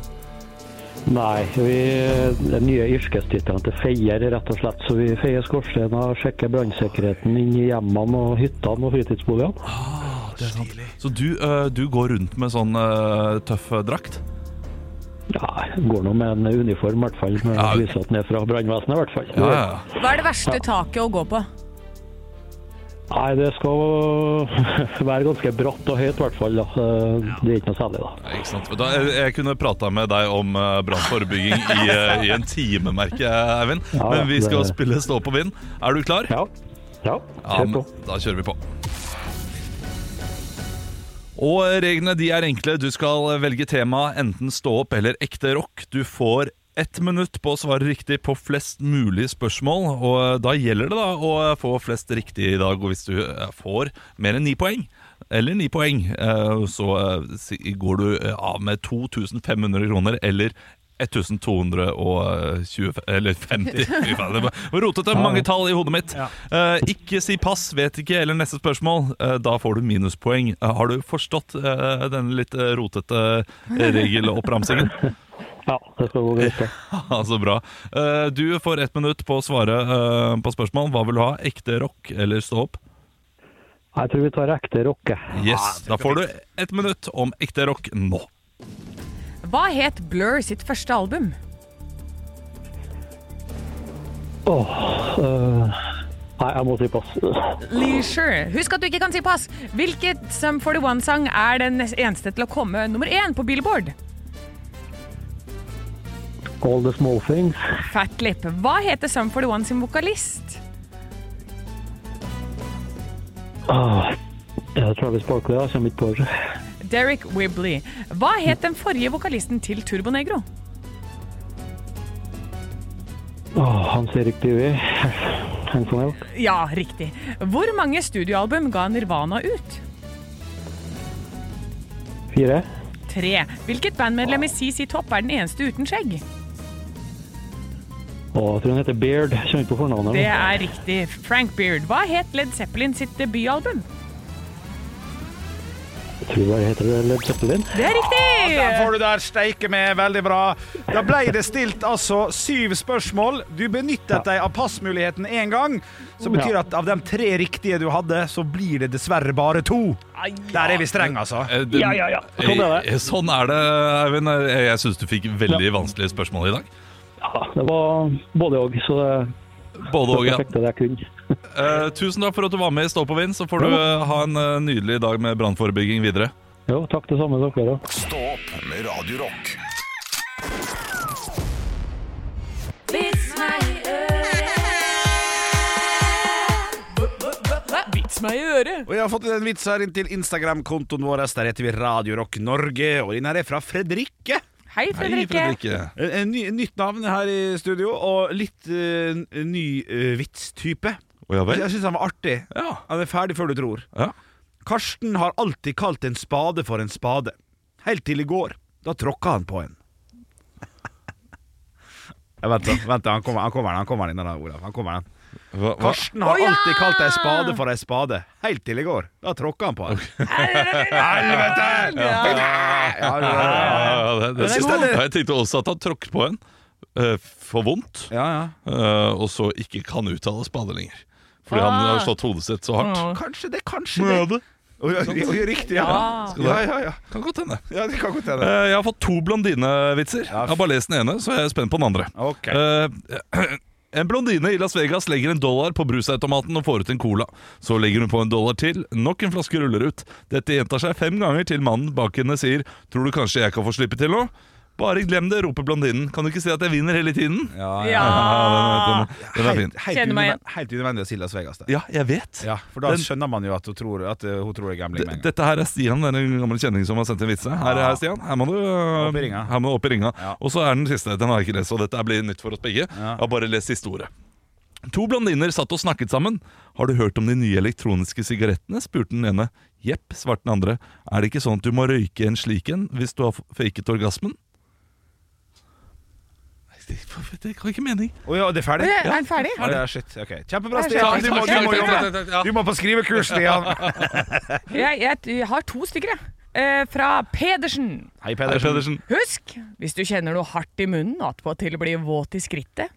[SPEAKER 10] Nei, vi, den nye yrkestittelen til feier, rett og slett. Så vi feier skorstener, sjekker brannsikkerheten inn i hjemmene og hyttene og fritidsboligene.
[SPEAKER 4] Så du, øh, du går rundt med sånn øh, tøff øh, drakt?
[SPEAKER 10] Ja, går nå med en uniform, i hvert fall. Men
[SPEAKER 4] Ja.
[SPEAKER 10] viser at den er fra brannvesenet, i hvert fall.
[SPEAKER 4] Ja, ja.
[SPEAKER 2] Hva er det verste taket å gå på?
[SPEAKER 10] Nei, det skal være ganske bratt og høyt, i hvert fall. da. Eh, Det er ikke noe særlig, da.
[SPEAKER 4] Nei, Ikke sant? Da, jeg, jeg kunne prata med deg om uh, brannforebygging i, eh, i en time, merker jeg, Eivind.
[SPEAKER 10] Ja,
[SPEAKER 4] Men vi skal
[SPEAKER 10] det-
[SPEAKER 4] spille Stå på vind. Er du klar?
[SPEAKER 10] Ja. Ja,
[SPEAKER 4] Ja,
[SPEAKER 10] kjør
[SPEAKER 4] men
[SPEAKER 10] på.
[SPEAKER 4] da kjører vi på. Og reglene de er enkle. Du skal velge tema enten stå opp eller ekte rock. Du får ett minutt på å svare riktig på flest mulig spørsmål. Og da gjelder det da å få flest riktig i dag. Og hvis du eh, får mer enn ni poeng, eller ni poeng, eh, så eh, si- går du eh, av med 2500 kroner eller 1220 eller 50 Fy faen, det var rotete. Mange tall i hodet mitt. Eh, ikke si pass, vet ikke eller neste spørsmål. Eh, da får du minuspoeng. Eh, har du forstått eh, denne litt eh, rotete regeloppramsingen?
[SPEAKER 10] Ja, det skal gå greit. det.
[SPEAKER 4] Ja, Så bra. Eh, du får ett minutt på å svare eh, på spørsmål. Hva vil du ha? Ekte rock eller stå opp?
[SPEAKER 10] Jeg tror vi tar ekte rocke.
[SPEAKER 4] Yes, Da får du ett minutt om ekte rock nå.
[SPEAKER 2] Hva het Blur sitt første album?
[SPEAKER 10] Åh, eh, nei, jeg må si pass.
[SPEAKER 2] Leisure. Husk at du ikke kan si pass. Hvilket Sum 41-sang er den eneste til å komme nummer én på Billboard?
[SPEAKER 10] All the small things.
[SPEAKER 2] Fat Lip. Hva heter Sum 41 sin vokalist?
[SPEAKER 10] Ah, ja, Travis Barkley, jeg kommer ikke på det.
[SPEAKER 2] Derek Wibley. Hva het den forrige vokalisten til Turbonegro?
[SPEAKER 10] Åh, Hans Erik Dyvi. Hands on Elk.
[SPEAKER 2] Ja, riktig. Hvor mange studioalbum ga Nirvana ut?
[SPEAKER 10] Fire.
[SPEAKER 2] Tre. Hvilket bandmedlem i CC Topp er den eneste uten skjegg?
[SPEAKER 10] Åh, jeg tror han heter Beard. Jeg Kommer ikke på fornavnet.
[SPEAKER 2] Det er riktig. Frank Beard. Hva het Led Zeppelin sitt debutalbum?
[SPEAKER 10] Jeg tror bare heter det Led Zeppelin.
[SPEAKER 2] Det er
[SPEAKER 3] Der
[SPEAKER 2] riktig!
[SPEAKER 3] får du der, steike med, veldig bra. Da ble det stilt altså syv spørsmål. Du benyttet deg av passmuligheten én gang, som betyr at av de tre riktige du hadde, så blir det dessverre bare to. Der er vi strenge, altså.
[SPEAKER 4] Eh, du-
[SPEAKER 10] Ja, ja, ja. Sånn er det.
[SPEAKER 4] Eh, Sånn er det, Eivind. Eh, Jeg syns du fikk veldig vanskelige spørsmål i dag.
[SPEAKER 10] Ja, det var både og, så det
[SPEAKER 4] Både og,
[SPEAKER 10] det
[SPEAKER 4] ja.
[SPEAKER 10] perfekte det jeg kunne.
[SPEAKER 4] Eh, tusen takk for at du var med i Stå på vind. Så får du eh, ha en eh, nydelig dag med brannforebygging videre.
[SPEAKER 10] Jo, takk det samme dere da.
[SPEAKER 6] Stå opp med Radio Rock.
[SPEAKER 2] Vits meg i øret.
[SPEAKER 3] Og jeg har fått en vits her inn til Instagram-kontoen vår. Der heter vi Radio Rock Norge, og den her er fra Fredrikke.
[SPEAKER 2] Hei, Fredrikke.
[SPEAKER 3] En, en ny, nytt navn her i studio, og litt eh, n- ny eh, vitstype.
[SPEAKER 4] Å, ja vel?
[SPEAKER 3] Jeg syns han var artig.
[SPEAKER 4] Ja.
[SPEAKER 3] Han er ferdig før du tror.
[SPEAKER 4] Ja.
[SPEAKER 3] Karsten har alltid kalt en spade for en spade. Helt til i går. Da tråkka han på en. Jeg vent, da. vent da, han kommer, han kommer, han kommer inn, da, Olav. Han kommer inn.
[SPEAKER 4] Hva, hva?
[SPEAKER 3] Karsten har alltid kalt ei spade for ei spade. Helt til i går. Da tråkka han på en. Helvete! Ja, ja,
[SPEAKER 4] Ja,
[SPEAKER 3] ja.
[SPEAKER 4] ja, det, det,
[SPEAKER 3] er
[SPEAKER 4] synes
[SPEAKER 3] god.
[SPEAKER 4] jeg, Ja, jeg tenkte også at han tråkket på en eh, for vondt,
[SPEAKER 3] ja, ja.
[SPEAKER 4] eh, og så ikke kan uttale spade lenger. Fordi han har slått hodet sitt så hardt.
[SPEAKER 3] Kanskje det, kanskje det. Oi, oi, oi, riktig, ja.
[SPEAKER 4] Skal
[SPEAKER 3] Ja,
[SPEAKER 4] det-
[SPEAKER 3] ja, ja.
[SPEAKER 4] Kan godt hende.
[SPEAKER 3] ja det kan godt hende.
[SPEAKER 4] Eh, Jeg har fått to blondinevitser. Jeg har bare lest den ene, så jeg er spent på den andre.
[SPEAKER 3] Ok.
[SPEAKER 4] Eh, en blondine i Las Vegas legger en dollar på brusautomaten og får ut en cola. Så legger hun på en dollar til, nok en flaske ruller ut. Dette gjentar seg fem ganger til mannen bak henne sier 'Tror du kanskje jeg kan få slippe til nå?' 'Bare glem det', roper blondinen. 'Kan du ikke si at jeg vinner hele tiden?' Ja,
[SPEAKER 2] Ja.
[SPEAKER 4] den, den, den er fin.
[SPEAKER 3] Helt, helt,
[SPEAKER 2] Kjenner meg
[SPEAKER 3] unødvendig, helt unødvendig å si Las Vegas, det.
[SPEAKER 4] Ja, jeg vet.
[SPEAKER 3] Ja, for da
[SPEAKER 4] Den-
[SPEAKER 3] skjønner man jo at hun tror, at uh, hun tror det er gambling med en gang.
[SPEAKER 4] Dette her er Stian, den gamle kjenningen som har sendt en vitse. Her er Stian, her må du øh,
[SPEAKER 3] Opp i ringa.
[SPEAKER 4] Her må du opp i ringa.
[SPEAKER 3] Ja.
[SPEAKER 4] Og så er den siste. Den har jeg ikke lest, og dette blir nytt for oss begge. Jeg har bare lest siste ordet. To blondiner satt og snakket sammen. Har du hørt om de nye elektroniske sigarettene? spurte den ene. Jepp, svarte den andre. Er det ikke sånn at du må røyke en slik en hvis du har f- faket orgasmen? Nei, Det det ga ikke mening.
[SPEAKER 3] Å ja, det er ferdig?
[SPEAKER 2] Er den ferdig?
[SPEAKER 3] Ja, det er shit. ok Kjempebra,
[SPEAKER 2] Det er
[SPEAKER 3] Stian.
[SPEAKER 2] shit.
[SPEAKER 3] Du må, du må,
[SPEAKER 4] Takk,
[SPEAKER 3] jobbe.
[SPEAKER 4] takk, takk,
[SPEAKER 3] Du må på skrivekurs, Stian.
[SPEAKER 2] Jeg, jeg, jeg har to stykker, jeg. Eh, fra Pedersen.
[SPEAKER 4] Hei,
[SPEAKER 3] Hei, Pedersen.
[SPEAKER 4] Pedersen.
[SPEAKER 2] Husk, hvis du kjenner noe hardt i munnen og attpåtil blir våt i skrittet,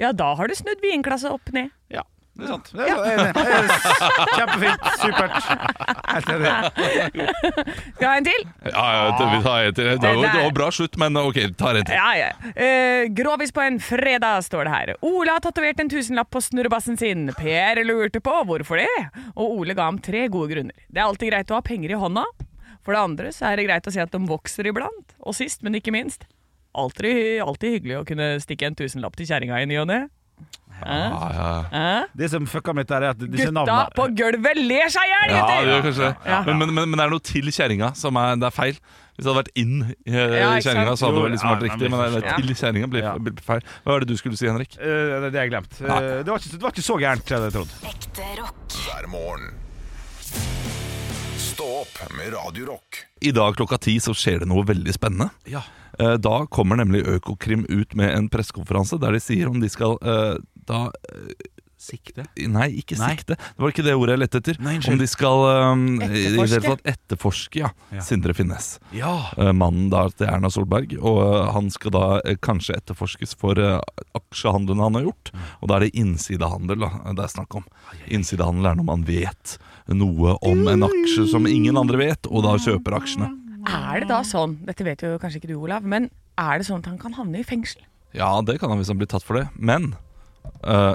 [SPEAKER 2] ja da har du snudd vinklasset opp ned.
[SPEAKER 3] Ja. det er sant. Det er, det er, kjempefint. Supert. Helt enig.
[SPEAKER 2] Skal jeg ha en til?
[SPEAKER 4] Ja, ja, det, vi tar en til. Det var, det var bra slutt, men ok, vi tar en til.
[SPEAKER 2] Ja, ja. Eh, grovis på en fredag, står det her. Ole har tatovert en tusenlapp på snurrebassen sin. Per lurte på hvorfor det, og Ole ga ham tre gode grunner. Det er alltid greit å ha penger i hånda. For det andre så er det greit å si at de vokser iblant. Og sist, men ikke minst, alltid, alltid hyggelig å kunne stikke en tusenlapp til kjerringa i ny og ne. Eh,
[SPEAKER 4] Ja, ja.
[SPEAKER 2] eh.
[SPEAKER 3] Det som fucka meg litt der, er at disse
[SPEAKER 2] Gutta
[SPEAKER 3] navnene
[SPEAKER 2] på gulvet ler seg i hjel,
[SPEAKER 4] Ja, det gjør
[SPEAKER 2] gutter!
[SPEAKER 4] kanskje det.
[SPEAKER 2] Ja.
[SPEAKER 4] Men, men, men, men det er noe til kjerringa som er, det er feil. Hvis det hadde vært inn i
[SPEAKER 2] Ja,
[SPEAKER 4] eh,
[SPEAKER 2] ikke sant.
[SPEAKER 4] kjerringa, så hadde
[SPEAKER 3] Jo,
[SPEAKER 4] det liksom vært
[SPEAKER 3] ja,
[SPEAKER 4] riktig.
[SPEAKER 3] men
[SPEAKER 4] Men det
[SPEAKER 2] forstår.
[SPEAKER 4] er til kjerringa blir,
[SPEAKER 3] Ja.
[SPEAKER 4] blir feil. Hva er det du skulle si, Henrik?
[SPEAKER 3] Eh, det er det jeg glemt. Eh, det, var ikke, det var ikke så gærent, jeg hadde trodd.
[SPEAKER 8] Ekte rock.
[SPEAKER 6] hver morgen. Stå opp med Radio Rock.
[SPEAKER 4] I dag klokka ti så skjer det noe veldig spennende.
[SPEAKER 3] Ja.
[SPEAKER 4] Eh, Da kommer nemlig Økokrim ut med en pressekonferanse der de sier om de skal eh, da eh,
[SPEAKER 3] Sikte?
[SPEAKER 4] Nei, ikke
[SPEAKER 3] Nei.
[SPEAKER 4] sikte. Det var ikke det ordet jeg lette etter.
[SPEAKER 3] Nei, unnskyld.
[SPEAKER 4] om de skal eh, i- i det
[SPEAKER 2] Etterforske.
[SPEAKER 4] hele tatt etterforske ja.
[SPEAKER 3] Ja.
[SPEAKER 4] Sindre Finnes.
[SPEAKER 3] Ja.
[SPEAKER 4] Eh, mannen da til Erna Solberg, og eh, han skal da eh, kanskje etterforskes for eh, aksjehandlene han har gjort.
[SPEAKER 3] Mm.
[SPEAKER 4] Og da er det innsidehandel da, det er snakk om. Innsidehandel er når man vet noe om en aksje som ingen andre vet, og da kjøper aksjene.
[SPEAKER 2] Er det da sånn, dette vet jo kanskje ikke du, Olav, men er det sånn at han kan havne i fengsel?
[SPEAKER 4] Ja, det kan han hvis han blir tatt for det, men eh,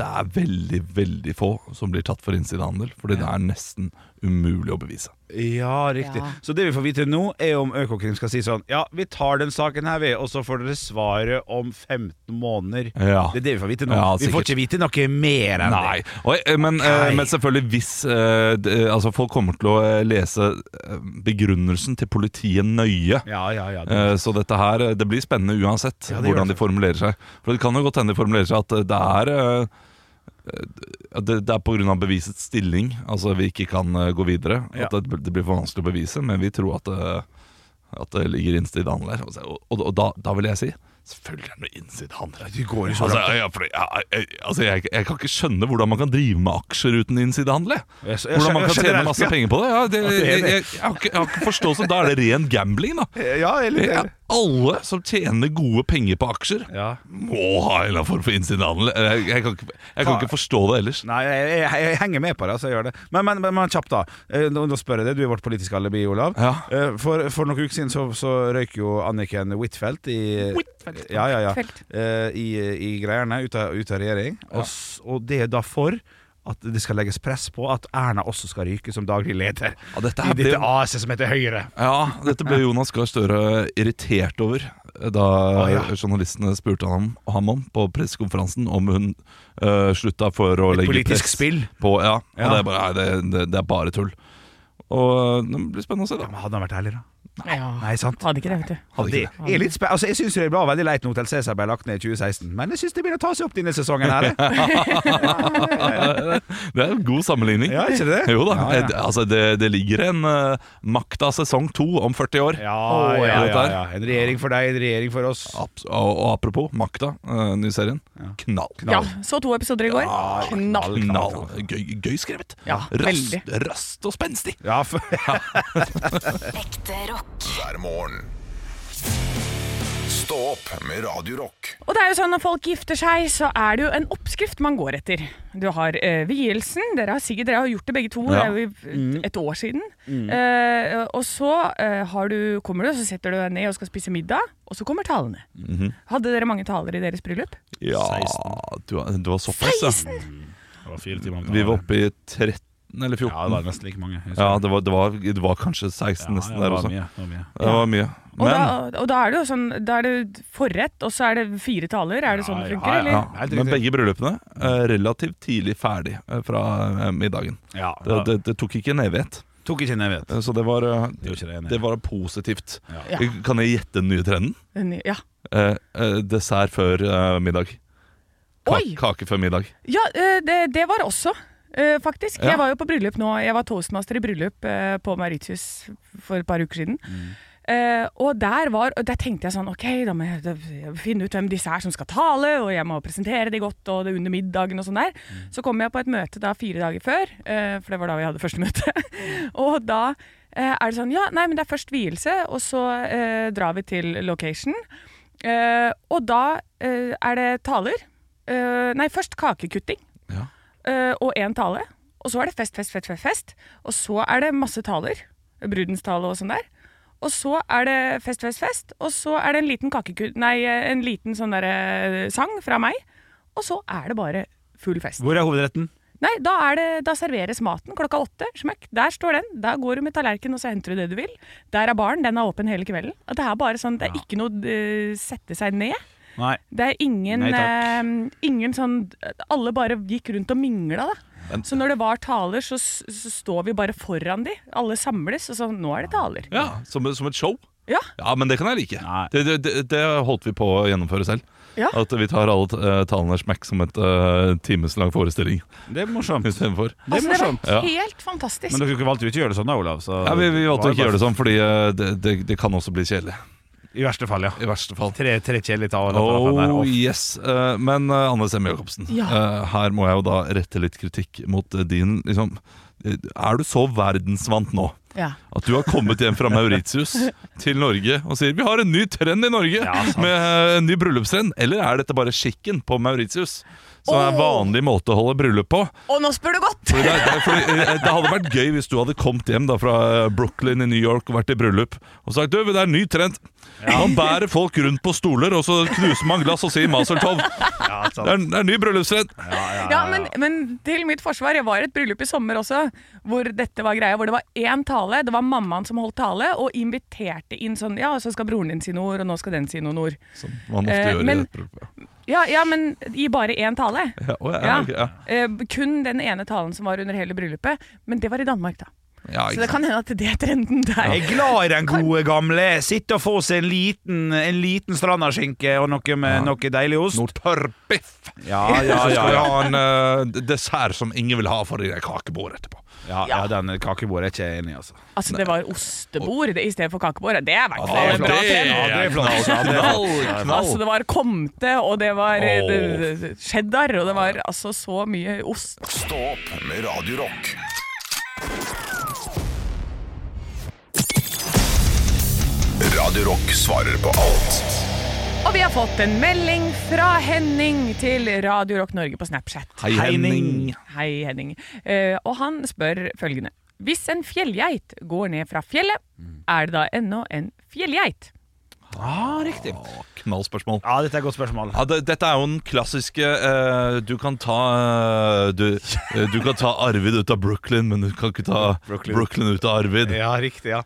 [SPEAKER 4] det er veldig, veldig få som blir tatt for innsidehandel, fordi det er nesten umulig å bevise.
[SPEAKER 3] ja, riktig.
[SPEAKER 2] Ja.
[SPEAKER 3] Så det vi får vite nå, er om Økokrim skal si sånn Ja, vi tar den saken her, vi, og så får dere svaret om 15 måneder.
[SPEAKER 4] Ja.
[SPEAKER 3] Det er det vi får vite nå.
[SPEAKER 4] Ja,
[SPEAKER 3] vi får
[SPEAKER 4] sikkert.
[SPEAKER 3] ikke vite noe mer enn
[SPEAKER 4] Nei,
[SPEAKER 3] det.
[SPEAKER 4] og, eh, men, eh,
[SPEAKER 3] Nei.
[SPEAKER 4] men selvfølgelig hvis eh, d- eh, altså Folk kommer til å eh, lese eh, begrunnelsen til politiet nøye.
[SPEAKER 3] Ja, ja, ja. Det,
[SPEAKER 4] Eh, Så dette her, eh, det blir spennende uansett
[SPEAKER 3] Ja, det gjør
[SPEAKER 4] hvordan de
[SPEAKER 3] det.
[SPEAKER 4] formulerer seg. For Det kan jo godt hende de formulerer seg at eh, det er eh, eh, det, det er pga. bevisets stilling, altså vi ikke kan eh, gå videre.
[SPEAKER 3] Ja.
[SPEAKER 4] At det, det blir for vanskelig å bevise, men vi tror at, eh, at det ligger innsidehandel her. Og, så- og, og da, da vil jeg si selvfølgelig er det noe innsidehandel her.
[SPEAKER 3] du går jo så
[SPEAKER 4] Altså,
[SPEAKER 3] langt.
[SPEAKER 4] ja, for, ja, jeg, altså jeg, jeg kan ikke skjønne hvordan man kan drive med aksjer uten innsidehandel. jeg.
[SPEAKER 3] Jeg skj- jeg
[SPEAKER 4] Hvordan man
[SPEAKER 3] skjønner-
[SPEAKER 4] kan
[SPEAKER 3] jeg
[SPEAKER 4] tjene
[SPEAKER 3] skjønner-
[SPEAKER 4] masse
[SPEAKER 3] ja.
[SPEAKER 4] penger på det. Ja, det
[SPEAKER 3] det er
[SPEAKER 4] jeg,
[SPEAKER 3] det.
[SPEAKER 4] jeg, jeg, har ikke, jeg har ikke forståelse. Da er det ren gambling, da.
[SPEAKER 3] Ja, jeg er litt enig.
[SPEAKER 4] Alle som tjener gode penger på aksjer,
[SPEAKER 3] Ja.
[SPEAKER 4] må ha en eller annen form for innsidehandel. Jeg, jeg, kan, ikke, jeg kan ikke forstå det ellers.
[SPEAKER 3] Nei, jeg, jeg, jeg henger med på det. Altså, jeg gjør det Men, men, men, men kjapt, da. Eh, Nå, nå spør jeg deg. Du er vårt politiske alibi, Olav.
[SPEAKER 4] Ja.
[SPEAKER 3] Eh, For, for noen uker siden så, så røyk jo Anniken Huitfeldt i
[SPEAKER 2] Huitfeldt.
[SPEAKER 3] Ja, ja, ja.
[SPEAKER 2] Huitfeldt.
[SPEAKER 3] Eh, I, i greiene, ut av, ut av regjering. Og, s- og det er da for at det skal legges press på at Erna også skal ryke som daglig leder
[SPEAKER 4] Ja, dette
[SPEAKER 3] i
[SPEAKER 4] her ble,
[SPEAKER 3] dette AS-et som heter Høyre.
[SPEAKER 4] ja, dette ble Jonas Gahr Støre irritert over da
[SPEAKER 3] ja.
[SPEAKER 4] journalistene spurte ham, ham om på pressekonferansen om hun eh, slutta for å
[SPEAKER 3] Et
[SPEAKER 4] legge
[SPEAKER 3] politisk
[SPEAKER 4] press
[SPEAKER 3] spill.
[SPEAKER 4] på Ja, og
[SPEAKER 3] Ja.
[SPEAKER 4] det er bare, nei, det, det, det er bare tull. Og eh, det blir spennende å se,
[SPEAKER 3] Ja,
[SPEAKER 4] da.
[SPEAKER 3] men hadde han vært ærlig, da?
[SPEAKER 2] Ja.
[SPEAKER 3] Nei, sant?
[SPEAKER 2] Hadde ikke det, vet du.
[SPEAKER 4] Hadde
[SPEAKER 3] Det
[SPEAKER 4] ikke det.
[SPEAKER 3] er litt spe altså, jeg syns det ble veldig leit når Hotell Cæsar ble lagt ned i 2016, men jeg syns det begynner å ta seg opp denne sesongen her. eh. jeg.
[SPEAKER 4] Det er en god sammenligning.
[SPEAKER 3] Ja, ikke det?
[SPEAKER 4] Jo da.
[SPEAKER 3] Ja, ja.
[SPEAKER 4] Det, altså, det, det ligger en eh, makt av sesong to om 40 år.
[SPEAKER 3] Ja,
[SPEAKER 4] Å,
[SPEAKER 3] ja,
[SPEAKER 4] er det
[SPEAKER 3] ja,
[SPEAKER 4] der?
[SPEAKER 3] ja. En regjering for deg, en regjering for oss.
[SPEAKER 4] Abs- og, og apropos makta, uh, ny serien. Knall.
[SPEAKER 2] Ja, så to episoder i går. Knall.
[SPEAKER 4] Knall. Gøy, gøy skrevet.
[SPEAKER 2] Ja,
[SPEAKER 4] rast,
[SPEAKER 2] veldig.
[SPEAKER 4] rast og spenstig.
[SPEAKER 3] Ja, for,
[SPEAKER 8] Ekte rock.
[SPEAKER 6] hver morgen. Stå opp med Radio Rock.
[SPEAKER 2] Og det er jo sånn når folk gifter seg, så er det jo en oppskrift man går etter. Du har eh, vielsen, dere har sikkert dere har gjort det begge to, det
[SPEAKER 4] Ja.
[SPEAKER 2] er jo i- et år siden. Eh, og så eh, har du, kommer du, og så setter du deg ned og skal spise middag, og så kommer talene. Hadde dere mange taler i deres bryllup?
[SPEAKER 4] Ja, du, har- du var såpass, ja.
[SPEAKER 3] det var fire timer
[SPEAKER 4] Vi var oppe i 13 eller 14.
[SPEAKER 3] Ja, det var nesten like mange. Jeg husker
[SPEAKER 4] Ja, det var, det var, det var kanskje 16
[SPEAKER 3] det.
[SPEAKER 4] nesten
[SPEAKER 3] ja,
[SPEAKER 4] der
[SPEAKER 3] det
[SPEAKER 4] også.
[SPEAKER 3] var mye, det var mye.
[SPEAKER 4] Det var mye.
[SPEAKER 2] Og,
[SPEAKER 4] Men,
[SPEAKER 2] da, og da er det jo sånn, da er det forrett, og så er det fire taler. Er det sånn det
[SPEAKER 3] Ja,
[SPEAKER 2] funker,
[SPEAKER 3] ja,
[SPEAKER 2] eller?
[SPEAKER 4] ja,
[SPEAKER 3] Helt riktig.
[SPEAKER 4] men begge bryllupene eh, relativt tidlig ferdig eh, fra eh, middagen.
[SPEAKER 3] Ja,
[SPEAKER 4] Det, det, det tok ikke en evighet.
[SPEAKER 3] Tok ikke en evighet.
[SPEAKER 4] Eh, Så det var, eh,
[SPEAKER 3] Det gjør ikke det, nei.
[SPEAKER 4] det var positivt.
[SPEAKER 3] Ja.
[SPEAKER 4] Kan jeg gjette den nye trenden?
[SPEAKER 2] Den- ja.
[SPEAKER 4] Eh, eh, dessert før eh, middag. Ka
[SPEAKER 2] Oi!
[SPEAKER 4] Kake før middag.
[SPEAKER 2] Ja, eh, det, det var det også, eh, faktisk.
[SPEAKER 4] Ja.
[SPEAKER 2] Jeg var jo på bryllup nå. Jeg var toastmaster i bryllup eh, på Mauritius for et par uker siden. Eh, og der, var, og der tenkte jeg sånn OK, da må jeg, da, jeg må finne ut hvem disse er som skal tale, og jeg må presentere de godt og det under middagen og sånn der. Så kom jeg på et møte da fire dager før, eh, for det var da vi hadde første møte. og da eh, er det sånn Ja, nei, men det er først vielse, og så eh, drar vi til location. Eh, og da eh, er det taler. Eh, nei, først kakekutting. eh, og én tale. Og så er det fest, fest, fest, fest, fest. Og så er det masse taler. Brudens tale og sånn der. Og så er det fest, fest, fest. Og så er det en liten kakeku... Nei, eh, en liten sånn der, eh, sang fra meg. Og så er det bare full fest.
[SPEAKER 3] Hvor er hovedretten?
[SPEAKER 2] Nei, da, er det, da serveres maten klokka åtte. Smekk. Der står den. Der går du med tallerken og så henter du det du vil. Der er baren. Den er åpen hele kvelden. Og det er bare sånn, det er ikke noe eh, sette seg ned.
[SPEAKER 3] Nei.
[SPEAKER 2] Det er ingen,
[SPEAKER 3] Nei,
[SPEAKER 2] eh,
[SPEAKER 3] takk.
[SPEAKER 2] ingen sånn Alle bare gikk rundt og mingla, da.
[SPEAKER 4] Men-
[SPEAKER 2] Så når det var taler, så, s- så står vi bare foran de. Alle samles, og sånn Nå er det taler.
[SPEAKER 4] Ja, som, som et show.
[SPEAKER 2] Ja.
[SPEAKER 4] Ja, men det kan jeg like.
[SPEAKER 3] Nei.
[SPEAKER 4] Det, det, det, det holdt vi på å gjennomføre selv.
[SPEAKER 2] Ja.
[SPEAKER 4] At vi tar alle eh, talene smack som et eh, timeslang forestilling
[SPEAKER 3] Det er morsomt.
[SPEAKER 4] istedenfor.
[SPEAKER 3] Det er
[SPEAKER 2] altså, det
[SPEAKER 3] morsomt.
[SPEAKER 2] var helt fantastisk.
[SPEAKER 3] Men dere kunne valgt ut å gjøre det sånn da, Olav. Så
[SPEAKER 4] Ja, vi, vi valgte å ikke gjøre det sånn, fordi eh, det, det, det kan også bli kjedelig.
[SPEAKER 3] I verste fall, ja.
[SPEAKER 4] I verste fall.
[SPEAKER 3] Tre, tre kjedelige tall.
[SPEAKER 4] Oh yes. Eh, men eh, Anne Semme Jacobsen,
[SPEAKER 2] Ja.
[SPEAKER 4] eh, her må jeg jo da rette litt kritikk mot eh, din liksom, eh, Er du så verdensvant nå?
[SPEAKER 2] Ja.
[SPEAKER 4] At du har kommet hjem fra Mauritius til Norge og sier vi har en ny trend i Norge!
[SPEAKER 3] sant.
[SPEAKER 4] med eh, en ny bryllupstrend. Eller er dette bare skikken på Mauritius? Som er
[SPEAKER 2] Åh.
[SPEAKER 4] vanlig måte å holde bryllup på.
[SPEAKER 2] Og nå spør du godt!
[SPEAKER 4] Fordi det, det, fordi, eh, det hadde vært gøy hvis du hadde kommet hjem da fra eh, Brooklyn i New York og vært i bryllup og sagt du, det er en ny trend. Man bærer folk rundt på stoler, og så knuser man glass og sier Mazel Tov.
[SPEAKER 3] Ja,
[SPEAKER 4] Det er, det er en ny bryllupsredd.
[SPEAKER 2] Ja, men, men til mitt forsvar, jeg var i et bryllup i sommer også, hvor dette var greia, hvor det var én tale, det var mammaen som holdt tale, og inviterte inn sånn, ja, så skal broren din si noen ord, og nå skal den si noen ord.
[SPEAKER 4] Som man ofte
[SPEAKER 2] Eh,
[SPEAKER 4] gjør
[SPEAKER 2] men-
[SPEAKER 4] i et bryllup. ja.
[SPEAKER 2] Ja, ja men i bare én tale.
[SPEAKER 4] Ja, å, ja,
[SPEAKER 2] Ja.
[SPEAKER 4] ok, ja.
[SPEAKER 2] Eh, kun den ene talen som var under hele bryllupet, men det var i Danmark, da.
[SPEAKER 4] Ja,
[SPEAKER 2] Så
[SPEAKER 4] ikke
[SPEAKER 2] det kan hende at det er trenden der.
[SPEAKER 3] Jeg er glad i den gode gamle. Sitte og få seg en liten, en liten strandaskinke og noe, med, noe deilig ost.
[SPEAKER 4] Noe tørrbiff!
[SPEAKER 3] Ja,
[SPEAKER 4] Ja,
[SPEAKER 3] ja,
[SPEAKER 4] så
[SPEAKER 3] ja,
[SPEAKER 4] skal vi
[SPEAKER 3] ja.
[SPEAKER 4] ha en eh, dessert som ingen vil ha for det kakebordet etterpå.
[SPEAKER 3] ja, ja den kakebordet er ikke jeg enig i, altså.
[SPEAKER 2] Altså, det var ostebord det, i stedet for kakebord. Det er i hvert fall
[SPEAKER 4] Ja,
[SPEAKER 2] en bra
[SPEAKER 4] det er-
[SPEAKER 2] trend.
[SPEAKER 3] Ja, det er flott. Ja, det er flott.
[SPEAKER 4] Knall,
[SPEAKER 2] Altså, det var komte, og det var eh,
[SPEAKER 4] Åh.
[SPEAKER 2] det- det- det- cheddar, og det var altså så mye ost.
[SPEAKER 6] Stå opp med Radio Rock. Radio Rock svarer på alt.
[SPEAKER 2] Og vi har fått en melding fra Henning til Radio Rock Norge på Snapchat.
[SPEAKER 4] Hei, Henning.
[SPEAKER 2] Hei, Henning. Eh, og han spør følgende. Hvis en fjellgeit går ned fra fjellet,
[SPEAKER 3] Mm.
[SPEAKER 2] er det da ennå en fjellgeit?
[SPEAKER 4] Å, Knallspørsmål.
[SPEAKER 3] Ja, dette er et godt spørsmål.
[SPEAKER 4] Ja, det, dette er jo den klassiske eh, Du kan ta eh, du, eh, du kan ta Arvid ut av Brooklyn, men du kan ikke ta Brooklyn,
[SPEAKER 3] Brooklyn.
[SPEAKER 4] ut av Arvid.
[SPEAKER 3] Ja, riktig, ja.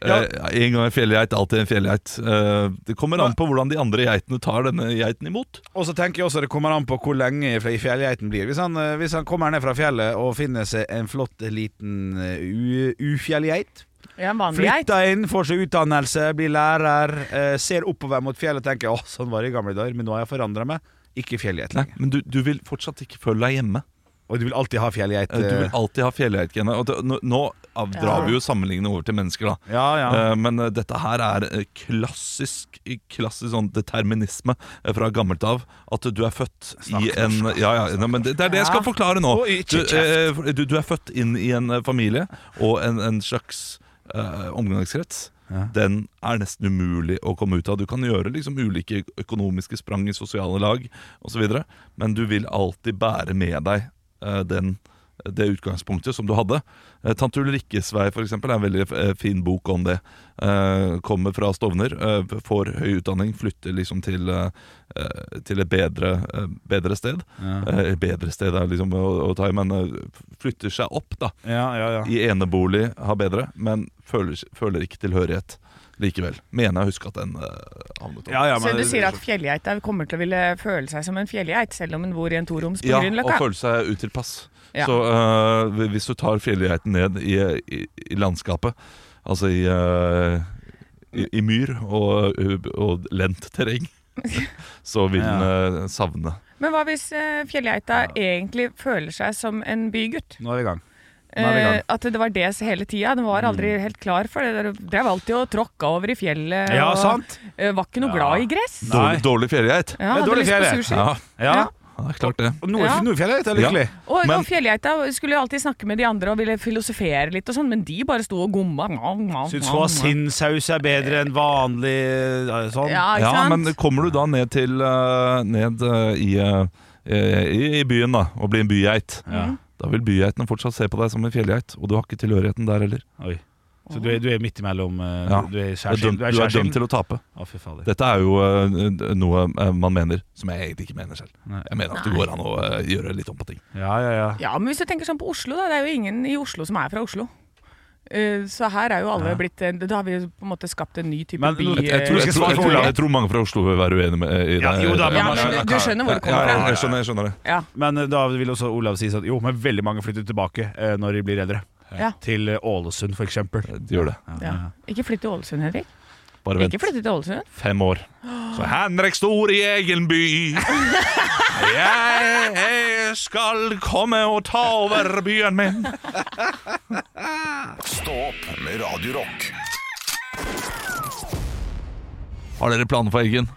[SPEAKER 4] Eh, en gang en fjellgeit, alltid en fjellgeit. Eh, det kommer an på hvordan de andre geitene tar denne geiten imot.
[SPEAKER 3] Og så tenker jeg også det kommer an på hvor lenge fjellgeiten blir. Hvis han, eh, hvis han kommer ned fra fjellet og finner seg en flott liten eh, u- ufjellgeit
[SPEAKER 2] Ja, en vanlig geit.
[SPEAKER 3] Flytter inn, får seg utdannelse, blir lærer, eh, ser oppover mot fjellet og tenker 'Å, sånn var det i gamle dager, men nå har jeg forandra meg'. Ikke fjellgeit
[SPEAKER 4] Nei,
[SPEAKER 3] lenger.
[SPEAKER 4] men du, du vil fortsatt ikke føle deg hjemme.
[SPEAKER 3] Og du vil alltid ha fjellgeit.
[SPEAKER 4] Eh, Du vil
[SPEAKER 3] eh,
[SPEAKER 4] alltid ha fjellgeitgenet. Og det- Nå, nå av- drar
[SPEAKER 2] Ja.
[SPEAKER 4] vi jo sammenlignende over til mennesker, da.
[SPEAKER 3] Ja, ja.
[SPEAKER 4] Eh, Men eh, dette her er eh, klassisk, klassisk sånn determinisme eh, fra gammelt av. At du er født i en ja, ja, nei, men det, det er det jeg skal forklare nå.
[SPEAKER 3] Oi,
[SPEAKER 4] Du,
[SPEAKER 3] kjeft.
[SPEAKER 4] eh, du, du er født inn i en eh, familie og en, en slags eh, omgangskrets. Den er nesten umulig å komme ut av. Du kan gjøre liksom ulike økonomiske sprang i sosiale lag osv., men du vil alltid bære med deg eh, den det utgangspunktet som du hadde. Eh, Tante Ulrikkes vei for eksempel, er en veldig eh, fin bok om det. Eh, Kommer fra Stovner, eh, får høy utdanning, flytter liksom til, eh, eh, til et bedre, eh, bedre sted. Eh, Bedre sted er liksom å, å ta i, men eh, flytter seg opp da,
[SPEAKER 3] ja, ja, ja.
[SPEAKER 4] i enebolig, har bedre, men føler, føler ikke tilhørighet likevel. Mener jeg husker at den eh, havnet opp.
[SPEAKER 3] ja, ja
[SPEAKER 2] Så
[SPEAKER 3] men-
[SPEAKER 2] du sier at fjellgeit er- kommer til å ville føle seg som en fjellgeit, selv om hun bor i en toroms på
[SPEAKER 4] Ja, og
[SPEAKER 2] Grünerløkka?
[SPEAKER 4] føle seg utilpass.
[SPEAKER 2] Ja.
[SPEAKER 4] Så øh, hvis du tar fjellgeiten ned i, i, i landskapet, altså i, øh, i, i myr og, og lent terreng, så vil den øh, savne.
[SPEAKER 2] Men hva hvis eh, fjellgeita egentlig føler seg som en bygutt?
[SPEAKER 3] Nå er vi i gang. Nå er vi i gang. Mm.
[SPEAKER 2] Eh, at det var det hele tida. Den var aldri helt klar for det. Dere drev alltid og tråkka over i fjellet.
[SPEAKER 3] Ja,
[SPEAKER 2] og,
[SPEAKER 3] sant.
[SPEAKER 2] eh, var ikke noe
[SPEAKER 3] Ja.
[SPEAKER 2] glad i gress.
[SPEAKER 3] Nei.
[SPEAKER 4] Dårlig, dårlig fjellgeit?
[SPEAKER 2] Ja,
[SPEAKER 3] Det er
[SPEAKER 2] hadde
[SPEAKER 3] dårlig
[SPEAKER 2] lyst på
[SPEAKER 3] fjelle.
[SPEAKER 2] sushi.
[SPEAKER 4] Ja,
[SPEAKER 3] Ja.
[SPEAKER 4] ja, det er klart det.
[SPEAKER 3] Og Nord,
[SPEAKER 2] Ja.
[SPEAKER 3] Nordfjellet er lykkelig.
[SPEAKER 2] Og,
[SPEAKER 4] Men-
[SPEAKER 2] og fjellgeita skulle jo alltid snakke med de andre og ville filosofere litt og sånn, men de bare sto og gomma.
[SPEAKER 3] Syns hun har sinnsaus er bedre enn vanlig eh, sånn.
[SPEAKER 2] Ja, ikke
[SPEAKER 4] Ja,
[SPEAKER 2] sant? Mm.
[SPEAKER 4] men kommer du da ned til øh, Ned øh, eh, i øh, eh, i, i byen da, og bli en bygeit.
[SPEAKER 2] Mm.
[SPEAKER 4] Da vil bygeitene fortsatt se på deg som en fjellgeit, og du har ikke tilhørigheten der heller.
[SPEAKER 3] Oi. Så du er, du er midt imellom eh,
[SPEAKER 4] Ja.
[SPEAKER 3] Du er
[SPEAKER 4] Du er
[SPEAKER 3] skjærskinn?
[SPEAKER 4] dømt, du er dømt til å tape.
[SPEAKER 3] Å, fy fader.
[SPEAKER 4] Dette er jo eh, noe eh, man mener, som jeg egentlig ikke mener selv.
[SPEAKER 3] Nei.
[SPEAKER 4] Jeg mener at det går an å eh, gjøre litt om på ting.
[SPEAKER 3] Ja, ja, ja.
[SPEAKER 2] Ja, men hvis du tenker sånn på Oslo, da. Det er jo ingen i Oslo som er fra Oslo. Eh, Så her er jo alle blitt eh, Da har vi jo på en måte skapt en ny type
[SPEAKER 3] Men
[SPEAKER 2] by.
[SPEAKER 3] jeg-
[SPEAKER 4] Jeg tror,
[SPEAKER 2] eh,
[SPEAKER 4] jeg, tror, jeg, tror, jeg tror mange fra Oslo vil være uenig med i det.
[SPEAKER 3] Ja, jo da,
[SPEAKER 2] Ja,
[SPEAKER 3] man skjønner
[SPEAKER 2] men du skjønner hvor det
[SPEAKER 4] Ja,
[SPEAKER 2] kommer
[SPEAKER 4] ja,
[SPEAKER 2] fra.
[SPEAKER 4] jeg skjønner, jeg skjønner det.
[SPEAKER 2] Ja,
[SPEAKER 3] Men eh, da vil også Olav si sånn Jo, men veldig mange flytter tilbake eh, når de blir eldre.
[SPEAKER 2] Ja.
[SPEAKER 3] Til eh, Ålesund, for eksempel.
[SPEAKER 4] De gjør det.
[SPEAKER 2] ja. Ikke flytt til Ålesund, Henrik.
[SPEAKER 4] Bare
[SPEAKER 2] Ikke
[SPEAKER 4] vent
[SPEAKER 2] flytte til Ålesund.
[SPEAKER 4] fem år. Så Henrik stor i egen by. Jeg, jeg skal komme og ta over byen min.
[SPEAKER 6] Stå opp med Radio Rock.
[SPEAKER 4] Har dere planer for helgen?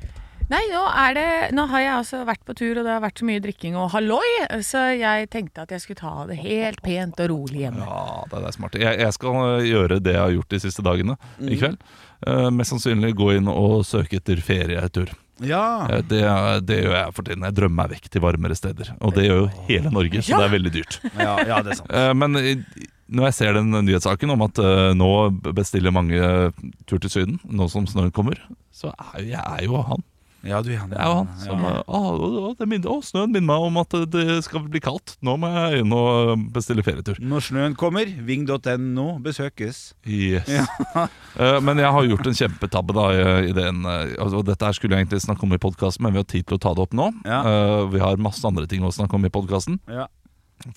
[SPEAKER 2] Nei, nå, er det, nå har jeg altså vært på tur, og det har vært så mye drikking og halloi, så jeg tenkte at jeg skulle ta det helt pent og rolig hjemme.
[SPEAKER 4] Ja, det er smart. Jeg, jeg skal øh, gjøre det jeg har gjort de siste dagene i kveld. Eh, mest sannsynlig gå inn og søke etter ferietur.
[SPEAKER 3] Ja.
[SPEAKER 4] Eh, det, det gjør jeg for tiden. Jeg drømmer meg vekk til varmere steder. Og det gjør jo hele Norge, så det er veldig dyrt.
[SPEAKER 3] Ja, det er sant.
[SPEAKER 4] Eh, men i- når jeg ser den nyhetssaken om at eh, nå bestiller mange eh, tur til Syden, nå som snøen kommer, så er jo jeg er jo han.
[SPEAKER 3] Ja, du er han.
[SPEAKER 4] Det er jo han som eh, ah, å, å, det minner, å, Snøen minner meg om at det skal bli kaldt. Nå må jeg inn og bestille ferietur.
[SPEAKER 3] Når snøen kommer, ving.no besøkes.
[SPEAKER 4] Yes. Eh, men jeg har gjort en kjempetabbe da i, i den, eh, altså, og Dette her skulle jeg egentlig snakke om i podkasten, men vi har tid til å ta det opp nå.
[SPEAKER 3] Ja.
[SPEAKER 4] Eh, vi har masse andre ting å snakke om i podkasten.
[SPEAKER 3] Ja.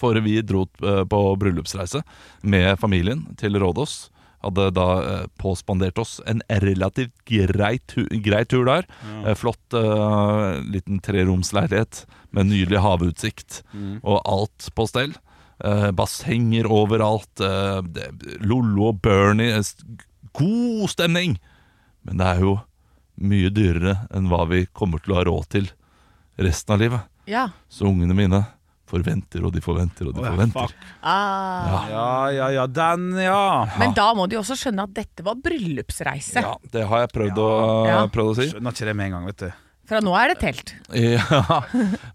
[SPEAKER 4] For vi dro eh, på bryllupsreise med familien til Rådås. Hadde da eh, påspandert oss en relativt grei, tu grei tur der. Eh, flott eh, liten treromsleilighet med nydelig havutsikt og alt på stell. Eh, bassenger overalt. eh, det- Lollo og Bernie. eh, s- God stemning! Men det er jo mye dyrere enn hva vi kommer til å ha råd til resten av livet.
[SPEAKER 2] Ja.
[SPEAKER 4] Så ungene mine forventer og de forventer og de
[SPEAKER 3] Å, ja,
[SPEAKER 4] forventer.
[SPEAKER 3] fuck.
[SPEAKER 2] Ah.
[SPEAKER 3] Ja, ja, ja. Den, ja.
[SPEAKER 2] Men da må de jo også skjønne at dette var bryllupsreise.
[SPEAKER 4] Ja, det har jeg prøvd, Å,
[SPEAKER 2] Ja.
[SPEAKER 4] prøvd å si.
[SPEAKER 3] Skjønner ikke det med en gang, vet du.
[SPEAKER 2] Fra nå er det telt.
[SPEAKER 4] Ja.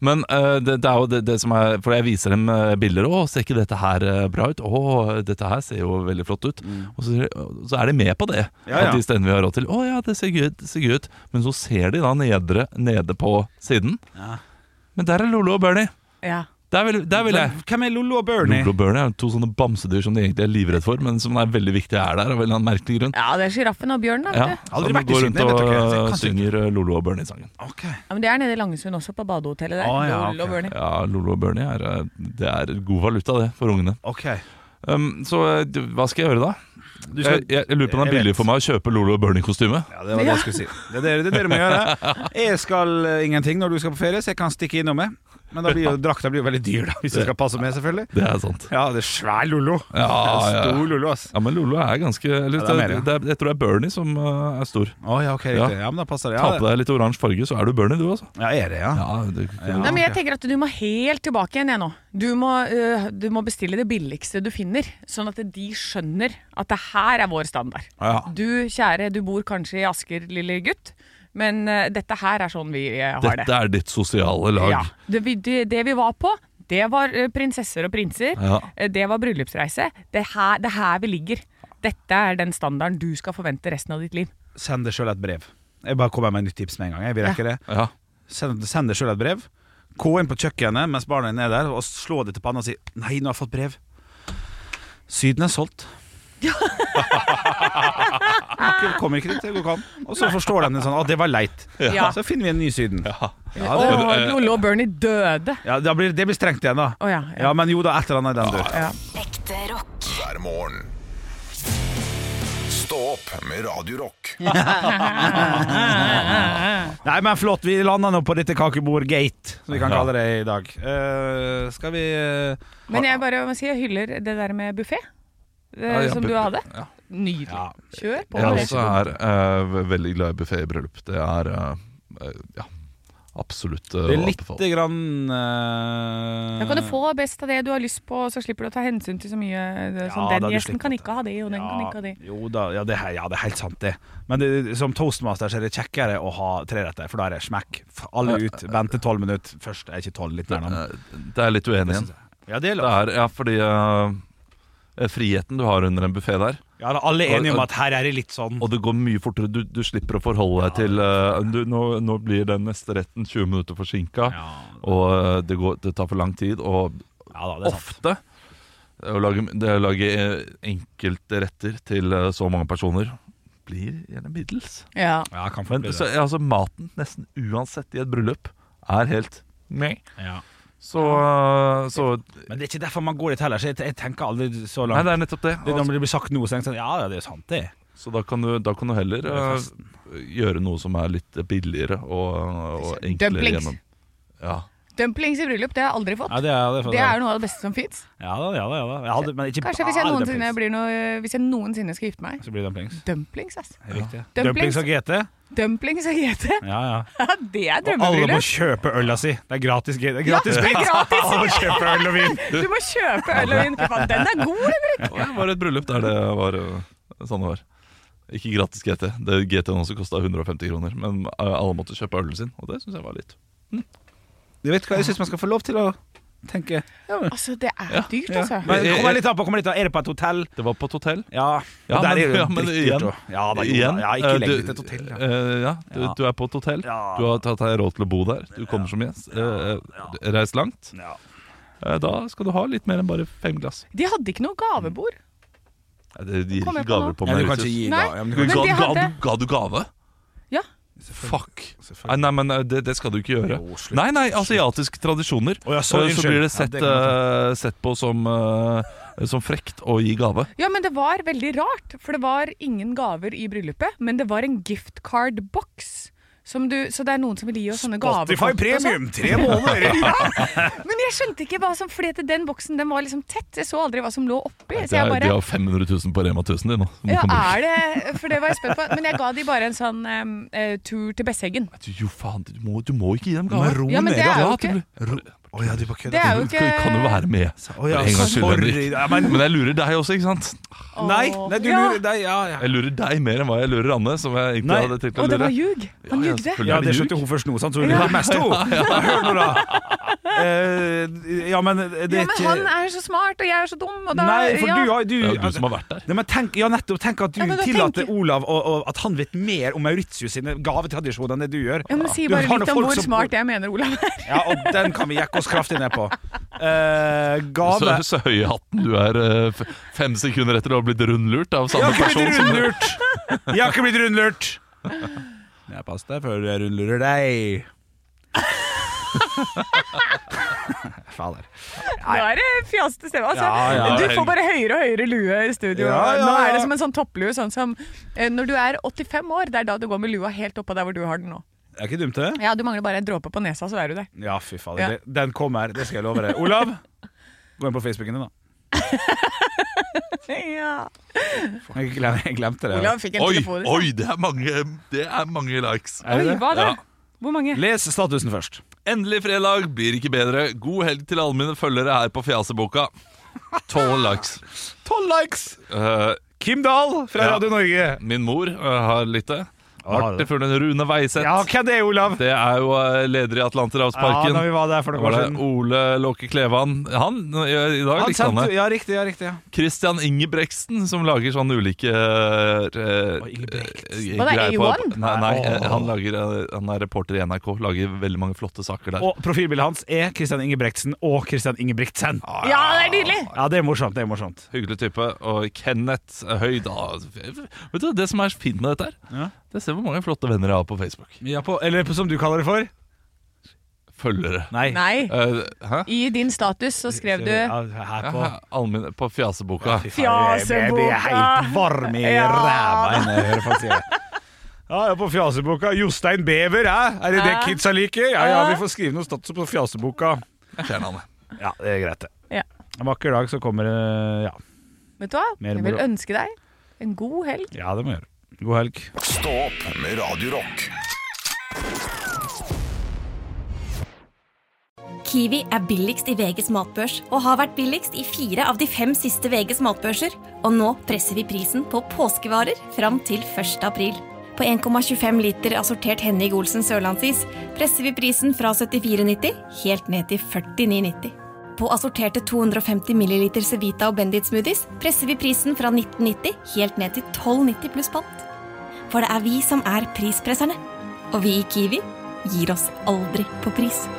[SPEAKER 4] Men eh, det, det er jo det, det som er For jeg viser dem eh, bilder. 'Å, ser ikke dette her eh, bra ut?' 'Å, dette her ser jo veldig flott ut.' Og så, så er de med på det.
[SPEAKER 3] Mm. Ja, ja.
[SPEAKER 4] At de stedene vi har råd til 'Å ja, det ser gøy ut', det ser gøy ut. Men så ser de da nedre, nede på siden. Men der er Lolo og Bernie.
[SPEAKER 2] Ja.
[SPEAKER 4] Der vil, der vil jeg.
[SPEAKER 3] Hvem er Lollo og Bernie?
[SPEAKER 4] Lolo og Bernie er jo to sånne bamsedyr som de egentlig er livredd for, men som er veldig viktige er der av en eller annen merkelig grunn.
[SPEAKER 2] ja, det er sjiraffen og bjørnen, da.
[SPEAKER 4] Ja,
[SPEAKER 2] vet du.
[SPEAKER 3] Aldri
[SPEAKER 4] som
[SPEAKER 3] vært i
[SPEAKER 4] går
[SPEAKER 3] Syden, jeg
[SPEAKER 4] rundt
[SPEAKER 3] vet
[SPEAKER 4] og eh,
[SPEAKER 3] ikke. Kanskje ikke.
[SPEAKER 4] synger eh, Lolo og Bernie-sangen.
[SPEAKER 3] Ok.
[SPEAKER 2] Ja, men det er nede i Langesund også, på badehotellet der.
[SPEAKER 3] Å, ja,
[SPEAKER 2] Lol og
[SPEAKER 3] ok.
[SPEAKER 2] Bernie.
[SPEAKER 4] Ja, Lolo og Bernie er, eh, det er god valuta, det, for ungene.
[SPEAKER 3] ok
[SPEAKER 4] Um, så eh, du- hva skal jeg gjøre da?
[SPEAKER 3] Du skal-
[SPEAKER 4] jeg, jeg, jeg lurer på om det er
[SPEAKER 3] Jeg
[SPEAKER 4] billig
[SPEAKER 3] vet.
[SPEAKER 4] for meg å kjøpe Lolo og Bernie-kostyme.
[SPEAKER 3] Ja, det var det jeg skulle si. Det er dere, det er dere må gjøre. Jeg skal eh, ingenting når du skal på ferie, så jeg kan stikke innom meg. Men da blir jo drakta blir jo veldig dyr, da, hvis du skal passe med, selvfølgelig.
[SPEAKER 4] Det er sant.
[SPEAKER 3] Ja, det er svær Lollo.
[SPEAKER 4] Ja,
[SPEAKER 3] Det er
[SPEAKER 4] ja.
[SPEAKER 3] Stor Lollo, ass.
[SPEAKER 4] Ja, men Lolo er ganske eller,
[SPEAKER 3] Ja, det er mer,
[SPEAKER 4] det,
[SPEAKER 3] ja.
[SPEAKER 4] det, er- Jeg tror det er Bernie som eh, er stor.
[SPEAKER 3] Å ja, ok,
[SPEAKER 4] Ja.
[SPEAKER 3] riktig. Ja, men da passer det.
[SPEAKER 4] Ta på
[SPEAKER 3] Ja,
[SPEAKER 4] deg litt oransje farge, så er du Bernie, du, altså.
[SPEAKER 3] ja er det, ja.
[SPEAKER 4] Ja, det,
[SPEAKER 3] Ja.
[SPEAKER 2] Nei, men jeg
[SPEAKER 3] ok.
[SPEAKER 2] tenker at Du må helt tilbake igjen jeg, nå. Du må, øh, du må bestille det billigste du finner, sånn at de skjønner at det her er vår standard.
[SPEAKER 4] Ja.
[SPEAKER 2] Du kjære, du bor kanskje i Asker, lille gutt, men øh, dette her er sånn vi øh, har det.
[SPEAKER 4] Dette er ditt sosiale lag.
[SPEAKER 2] Ja. Det, vi- det, det vi var på, det var øh, prinsesser og prinser.
[SPEAKER 4] Ja.
[SPEAKER 2] Eh, Det var bryllupsreise. Det her, det her vi ligger. Dette er den standarden du skal forvente resten av ditt liv.
[SPEAKER 3] Send deg sjøl et brev. Jeg bare kommer med et nytt tips med en gang. Jeg vil rekke det.
[SPEAKER 4] Ja.
[SPEAKER 3] Send, send deg sjøl et brev. Gå inn på kjøkkenet mens barna dine er der, og slå deg til panna og si 'Nei, nå har jeg fått brev'. Syden er solgt. Ok, Kommer ikke dit, det går ikke an. Og så forstår de det sånn. Å, det var leit.
[SPEAKER 2] Ja.
[SPEAKER 3] Så finner vi en ny Syden. Ja, det,
[SPEAKER 2] Åh, Lollo og Bernie døde.
[SPEAKER 3] ja, da blir, det blir strengt igjen, da.
[SPEAKER 2] Å ja, ja.
[SPEAKER 3] Ja, men jo da, et eller annet i den dur.
[SPEAKER 2] Ja.
[SPEAKER 8] Ekte rock.
[SPEAKER 6] hver morgen. Stå opp med Radio Rock.
[SPEAKER 3] Nei, men flott, vi lander nå på dette kakebord-gate, som vi kan kalle det i dag. Eh, skal vi eh,
[SPEAKER 2] Men jeg bare må si jeg hyller det der med buffé
[SPEAKER 4] Ja, ja,
[SPEAKER 2] Eh, som du
[SPEAKER 4] buffet.
[SPEAKER 2] hadde.
[SPEAKER 4] Ja.
[SPEAKER 2] Nydelig.
[SPEAKER 3] Ja. altså.
[SPEAKER 2] Kjør på.
[SPEAKER 4] Jeg
[SPEAKER 2] med det.
[SPEAKER 4] også er eh, veldig glad i buffé i bryllup. Det er eh, eh, ja. absolutt eh,
[SPEAKER 3] Det er
[SPEAKER 4] å
[SPEAKER 3] lite
[SPEAKER 4] anbefale.
[SPEAKER 3] grann eh,
[SPEAKER 2] Da kan du få best av det du har lyst på, så slipper du å ta hensyn til så mye. Det, er sånn,
[SPEAKER 3] Ja, da,
[SPEAKER 2] den
[SPEAKER 3] du
[SPEAKER 2] gjesten
[SPEAKER 3] slipper
[SPEAKER 2] kan
[SPEAKER 3] å ta-
[SPEAKER 2] ikke ha det, og den kan ikke ha det.
[SPEAKER 3] Jo da, ja det, er- ja, det er helt sant, det. Men det, som toastmaster så er det kjekkere å ha treretter, for da er det smekk. F- Alle ut, vente tolv minutter. Først er ikke tolv, litt nærmere.
[SPEAKER 4] Eh, Det er litt uenig igjen.
[SPEAKER 3] Ja, det er
[SPEAKER 4] Det
[SPEAKER 3] lov.
[SPEAKER 4] er, ja, fordi eh, friheten du har under en buffé der,
[SPEAKER 3] Ja, da, alle er enige om at her er det litt sånn.
[SPEAKER 4] og det går mye fortere. Du, du slipper å forholde deg til eh, du, nå, nå blir den neste retten 20 minutter forsinka, og eh, det, går, det tar for lang tid. Og
[SPEAKER 3] Ja da, det er sant.
[SPEAKER 4] ofte det å lage, det å lage eh, enkelte retter til eh, så mange personer blir gjerne middels.
[SPEAKER 2] Ja.
[SPEAKER 3] Ja, kan fort
[SPEAKER 4] Men
[SPEAKER 3] bli
[SPEAKER 4] så,
[SPEAKER 3] det.
[SPEAKER 4] ja, altså, maten, nesten uansett i et bryllup, er helt meh.
[SPEAKER 3] Ja.
[SPEAKER 4] Så, eh, så
[SPEAKER 3] Men det er ikke derfor man går dit heller, så jeg, jeg tenker aldri så
[SPEAKER 4] Nei,
[SPEAKER 3] langt.
[SPEAKER 4] det er nettopp det.
[SPEAKER 3] det, når det blir sagt noe, så tenker jeg sånn Ja, ja, det er jo sant, det.
[SPEAKER 4] Så da kan du, da kan du heller eh, gjøre noe som er litt billigere og, og enklere
[SPEAKER 2] Dumplings.
[SPEAKER 4] gjennom. Ja.
[SPEAKER 2] Dumplings i bryllup, det har jeg aldri fått.
[SPEAKER 3] Ja, det er, det er,
[SPEAKER 2] Det er jo noe av det beste som fins.
[SPEAKER 3] Ja da, ja da. Ja, da. Jeg hadde, men ikke
[SPEAKER 2] Kanskje hvis jeg,
[SPEAKER 3] bare
[SPEAKER 2] noensinne
[SPEAKER 3] dumplings.
[SPEAKER 2] blir noe, hvis jeg noensinne skal gifte meg.
[SPEAKER 3] Så blir det dumplings.
[SPEAKER 2] Dumplings, ass.
[SPEAKER 3] Riktig.
[SPEAKER 2] Dumplings.
[SPEAKER 3] Dumplings og GT.
[SPEAKER 2] Dumplings er GT.
[SPEAKER 3] Ja, ja.
[SPEAKER 2] Ja, det er
[SPEAKER 3] Og alle må
[SPEAKER 2] drømmebryllup.
[SPEAKER 3] kjøpe øla si. Det er gratis GT. Det er
[SPEAKER 2] det
[SPEAKER 3] gratis
[SPEAKER 2] er
[SPEAKER 3] vin.
[SPEAKER 2] gratis.
[SPEAKER 3] Alle må kjøpe øl og vin.
[SPEAKER 2] Du må kjøpe øl og vin. Fy faen, Den er god, Henrik!
[SPEAKER 4] Det var et bryllup der det var eh, sånn det var. Ikke gratis GT. Det GT-en også kosta 150 kroner, men eh, alle måtte kjøpe ølen sin, og det syns jeg var litt.
[SPEAKER 3] Du vet hva, Jeg syns man skal få lov til å tenke.
[SPEAKER 2] Altså, det er dyrt, altså.
[SPEAKER 3] Men
[SPEAKER 4] Eh,
[SPEAKER 3] det kommer litt an på. Kommer litt an. Er det på et hotell?
[SPEAKER 4] Det var på et hotell.
[SPEAKER 3] Ja.
[SPEAKER 4] Ja,
[SPEAKER 3] Og
[SPEAKER 4] men-
[SPEAKER 3] der er det jo
[SPEAKER 4] ja, men
[SPEAKER 3] drittdyrt,
[SPEAKER 4] igjen-
[SPEAKER 3] og- Ja, da, jo,
[SPEAKER 4] Igjen,
[SPEAKER 3] da. ja, ikke
[SPEAKER 4] eh,
[SPEAKER 3] legg
[SPEAKER 4] du-
[SPEAKER 3] det til et hotell. Ja.
[SPEAKER 4] eh, ja, du,
[SPEAKER 3] Ja.
[SPEAKER 4] du er på et hotell.
[SPEAKER 3] Ja.
[SPEAKER 4] Du har tatt deg råd til å bo der. Du kommer som gjest. Eh, eh, reist langt.
[SPEAKER 3] Ja.
[SPEAKER 4] Eh, da skal du ha litt mer enn bare fem glass.
[SPEAKER 2] De hadde ikke noe gavebord.
[SPEAKER 4] Ja, det gir
[SPEAKER 2] Kom
[SPEAKER 4] ikke
[SPEAKER 2] jeg på
[SPEAKER 4] gaver
[SPEAKER 2] nå?
[SPEAKER 4] på
[SPEAKER 3] Ja,
[SPEAKER 4] meg.
[SPEAKER 3] du kan ikke gi
[SPEAKER 2] Nei.
[SPEAKER 3] da. Ja, men
[SPEAKER 4] Ga,
[SPEAKER 2] Men
[SPEAKER 3] du kan ikke-
[SPEAKER 2] de
[SPEAKER 4] ga, du,
[SPEAKER 2] hadde-
[SPEAKER 4] ga du gave?
[SPEAKER 2] Ja.
[SPEAKER 4] Fuck. Nei, nei, men eh, det, det skal du ikke gjøre.
[SPEAKER 3] Jo, slutt.
[SPEAKER 4] Nei, nei, asiatiske tradisjoner.
[SPEAKER 3] Å, ja, sorry,
[SPEAKER 4] Eh, så
[SPEAKER 3] unnskyld.
[SPEAKER 4] blir det
[SPEAKER 3] Ja,
[SPEAKER 4] sett,
[SPEAKER 3] det kan jeg
[SPEAKER 4] eh, sett på som, eh, som frekt å gi gave.
[SPEAKER 2] Ja, men det var veldig rart, for det var ingen gaver i bryllupet, men det var en giftcard-boks. Som du, så det er noen som vil gi oss sånne gaver.
[SPEAKER 3] Spotify premium,
[SPEAKER 2] Altså.
[SPEAKER 3] tre måneder!
[SPEAKER 2] Men jeg skjønte ikke hva som Fordi at den boksen den var liksom tett. Jeg så aldri hva som lå oppi.
[SPEAKER 4] Det
[SPEAKER 2] Så jeg
[SPEAKER 4] er, de
[SPEAKER 2] bare
[SPEAKER 4] har 500 000 på Rema 1000 de nå. Du
[SPEAKER 2] ja,
[SPEAKER 4] kan bruke-
[SPEAKER 2] er det For det var jeg spent på. Men jeg ga de bare en sånn em, eh, tur til Besseggen.
[SPEAKER 4] Du, jo, faen, du må, du må ikke gi dem gave.
[SPEAKER 3] ro
[SPEAKER 2] Ja, men det er jo ikke
[SPEAKER 3] Å ja, du bare
[SPEAKER 2] Det er jo
[SPEAKER 4] Du kan- kan jo
[SPEAKER 2] ikke
[SPEAKER 4] være med.
[SPEAKER 3] Å ja,
[SPEAKER 4] For en gangs skyld,
[SPEAKER 3] sorry.
[SPEAKER 4] Henrik.
[SPEAKER 3] Ja, men,
[SPEAKER 4] Men jeg lurer deg også, ikke sant?
[SPEAKER 3] nei, nei, du
[SPEAKER 2] Ja.
[SPEAKER 3] lurer deg. Ja, ja.
[SPEAKER 4] Jeg lurer deg mer enn hva jeg lurer Anne. Som jeg egentlig
[SPEAKER 3] Nei.
[SPEAKER 4] hadde tenkt å
[SPEAKER 2] Og det
[SPEAKER 4] lure.
[SPEAKER 2] var ljug. Han
[SPEAKER 4] Ja, ja,
[SPEAKER 2] ljugde.
[SPEAKER 4] selvfølgelig.
[SPEAKER 3] Ja,
[SPEAKER 4] Er
[SPEAKER 3] det
[SPEAKER 4] det
[SPEAKER 3] skjønte jo hun først nå, sant? Så hun lurer mest to. Hør nå, da. Eh, ja, men det
[SPEAKER 2] Ja,
[SPEAKER 3] er
[SPEAKER 2] men
[SPEAKER 3] ikke
[SPEAKER 2] han er så smart, og jeg er så dum, og da
[SPEAKER 3] Nei, for
[SPEAKER 2] ja.
[SPEAKER 3] du har du,
[SPEAKER 4] Det
[SPEAKER 3] altså,
[SPEAKER 4] er jo du som har vært der.
[SPEAKER 3] Nei, men tenk, ja, nettopp, tenk at du
[SPEAKER 2] Ja, men da
[SPEAKER 3] tillater
[SPEAKER 2] tenker-
[SPEAKER 3] Olav og, og, at han vet mer om Mauritius sine gavetradisjoner enn det du gjør.
[SPEAKER 2] ja, men Si
[SPEAKER 3] Du
[SPEAKER 2] bare
[SPEAKER 3] har
[SPEAKER 2] litt
[SPEAKER 3] noen
[SPEAKER 2] om
[SPEAKER 3] folk
[SPEAKER 2] hvor
[SPEAKER 3] som-
[SPEAKER 2] smart jeg mener Olav er.
[SPEAKER 3] Ja, og den kan vi jekke oss kraftig ned på. Eh, gave
[SPEAKER 4] Så, så høy i hatten du er eh, f- fem sekunder etter du har blitt rundlurt av
[SPEAKER 3] Jeg
[SPEAKER 4] samme
[SPEAKER 3] har ikke
[SPEAKER 4] person.
[SPEAKER 3] blitt
[SPEAKER 4] som-
[SPEAKER 3] rundlurt! Jeg har ikke blitt rundlurt! Jeg Pass deg før jeg rundlurer deg. Fader.
[SPEAKER 2] Nå er det fjaste stemme. Altså.
[SPEAKER 3] Ja, ja,
[SPEAKER 2] du får bare høyere og høyere lue i studio.
[SPEAKER 3] Ja, ja,
[SPEAKER 2] Nå er det
[SPEAKER 3] ja.
[SPEAKER 2] som en sånn topplue. Sånn som eh, når du er 85 år, det er da du går med lua helt oppå der hvor du har den nå.
[SPEAKER 3] Er ikke dumt, det?
[SPEAKER 2] Ja, Du mangler bare en dråpe på nesa, så er du der.
[SPEAKER 3] Ja, fy fader.
[SPEAKER 2] Ja.
[SPEAKER 3] det- Den kommer, det skal jeg love deg. Olav, gå inn på Facebooken din, da.
[SPEAKER 2] Ja.
[SPEAKER 3] Jeg glem- jeg glemte det.
[SPEAKER 2] Olav fikk en
[SPEAKER 4] Oi,
[SPEAKER 2] telefon.
[SPEAKER 4] oi, det er mange, det er mange likes.
[SPEAKER 3] Er det
[SPEAKER 2] Oi,
[SPEAKER 3] det?
[SPEAKER 2] hva da?
[SPEAKER 4] Ja.
[SPEAKER 2] Hvor mange?
[SPEAKER 3] Les statusen først.
[SPEAKER 4] Endelig fredag, blir ikke bedre. God helg til alle mine følgere her på Fjaseboka. Tolv likes.
[SPEAKER 3] Tolv likes!
[SPEAKER 4] Eh,
[SPEAKER 3] Kim Dahl fra
[SPEAKER 4] Ja.
[SPEAKER 3] Radio Norge.
[SPEAKER 4] min mor eh, har lyttet.
[SPEAKER 3] har
[SPEAKER 4] Artig
[SPEAKER 3] det.
[SPEAKER 4] funnet Rune Veiseth.
[SPEAKER 3] Ja, hvem det er, Olav?
[SPEAKER 4] Det er jo eh, leder i
[SPEAKER 3] Ja,
[SPEAKER 4] Atlanterhavsparken.
[SPEAKER 3] når vi var der for noen
[SPEAKER 4] var
[SPEAKER 3] år
[SPEAKER 4] det
[SPEAKER 3] siden.
[SPEAKER 4] Ole Låke Klevan? Han i, i dag
[SPEAKER 3] Han
[SPEAKER 4] likte han
[SPEAKER 3] sendte,
[SPEAKER 4] det.
[SPEAKER 3] ja, riktig, ja, riktig. Ja.
[SPEAKER 4] Christian Ingebrektsen, som lager sånne ulike eh, eh,
[SPEAKER 3] Ingebrektsen.
[SPEAKER 4] eh,
[SPEAKER 2] Hva, det er
[SPEAKER 4] greier på-
[SPEAKER 2] A1?
[SPEAKER 4] Nei, nei eh, han, lager, eh, han er reporter i NRK. Lager veldig mange flotte saker der.
[SPEAKER 3] Og profilbildet hans er Christian Ingebrigtsen og Christian Ingebrigtsen.
[SPEAKER 2] Ja, det er nydelig!
[SPEAKER 3] Ja, det er morsomt. det er morsomt
[SPEAKER 4] Hyggelig type. Og Kenneth Høydal Vet du, Det som er fint med dette her,
[SPEAKER 3] Ja.
[SPEAKER 4] det ser hvor mange flotte venner jeg har på Facebook.
[SPEAKER 3] ja, på, Eller på, som du kaller det for?
[SPEAKER 4] Følgere.
[SPEAKER 3] Nei.
[SPEAKER 2] Nei.
[SPEAKER 4] Eh, hæ?
[SPEAKER 2] I din status så skrev du
[SPEAKER 3] Ja, her på
[SPEAKER 4] Ja, allmenn- på Fjaseboka.
[SPEAKER 2] Fjaseboka.
[SPEAKER 3] Jeg blir helt varm i
[SPEAKER 2] Ja.
[SPEAKER 3] ræva når jeg hører folk si det. Ja, ja, på Fjaseboka. Jostein Bever, hæ? Er det det
[SPEAKER 2] Ja.
[SPEAKER 3] kidsa liker? Ja, ja,
[SPEAKER 2] Ja.
[SPEAKER 3] vi får skrive noe status på Fjaseboka.
[SPEAKER 4] Fjern han, jeg.
[SPEAKER 3] Ja, det er greit, det.
[SPEAKER 2] Ja.
[SPEAKER 3] En vakker dag så kommer det Ja,
[SPEAKER 2] Vet du hva?
[SPEAKER 3] Mer
[SPEAKER 2] Jeg vil
[SPEAKER 3] moro.
[SPEAKER 2] ønske deg en god helg.
[SPEAKER 3] ja det må jeg gjøre. God helg.
[SPEAKER 6] Stå opp med Radio Rock.
[SPEAKER 11] Kiwi er billigst i VGs matbørs og har vært billigst i fire av de fem siste VGs matbørser. Og nå presser vi prisen på påskevarer fram til 1. april. På 1,25 liter assortert Henning Olsen sørlandsis presser vi prisen fra 74,90 helt ned til 49,90. På assorterte 250 ml Cevita og Bendit smoothies presser vi prisen fra 1990 helt ned til 12,90 pluss pant. For det er vi som er prispresserne. Og vi i Kiwi gir oss aldri på pris.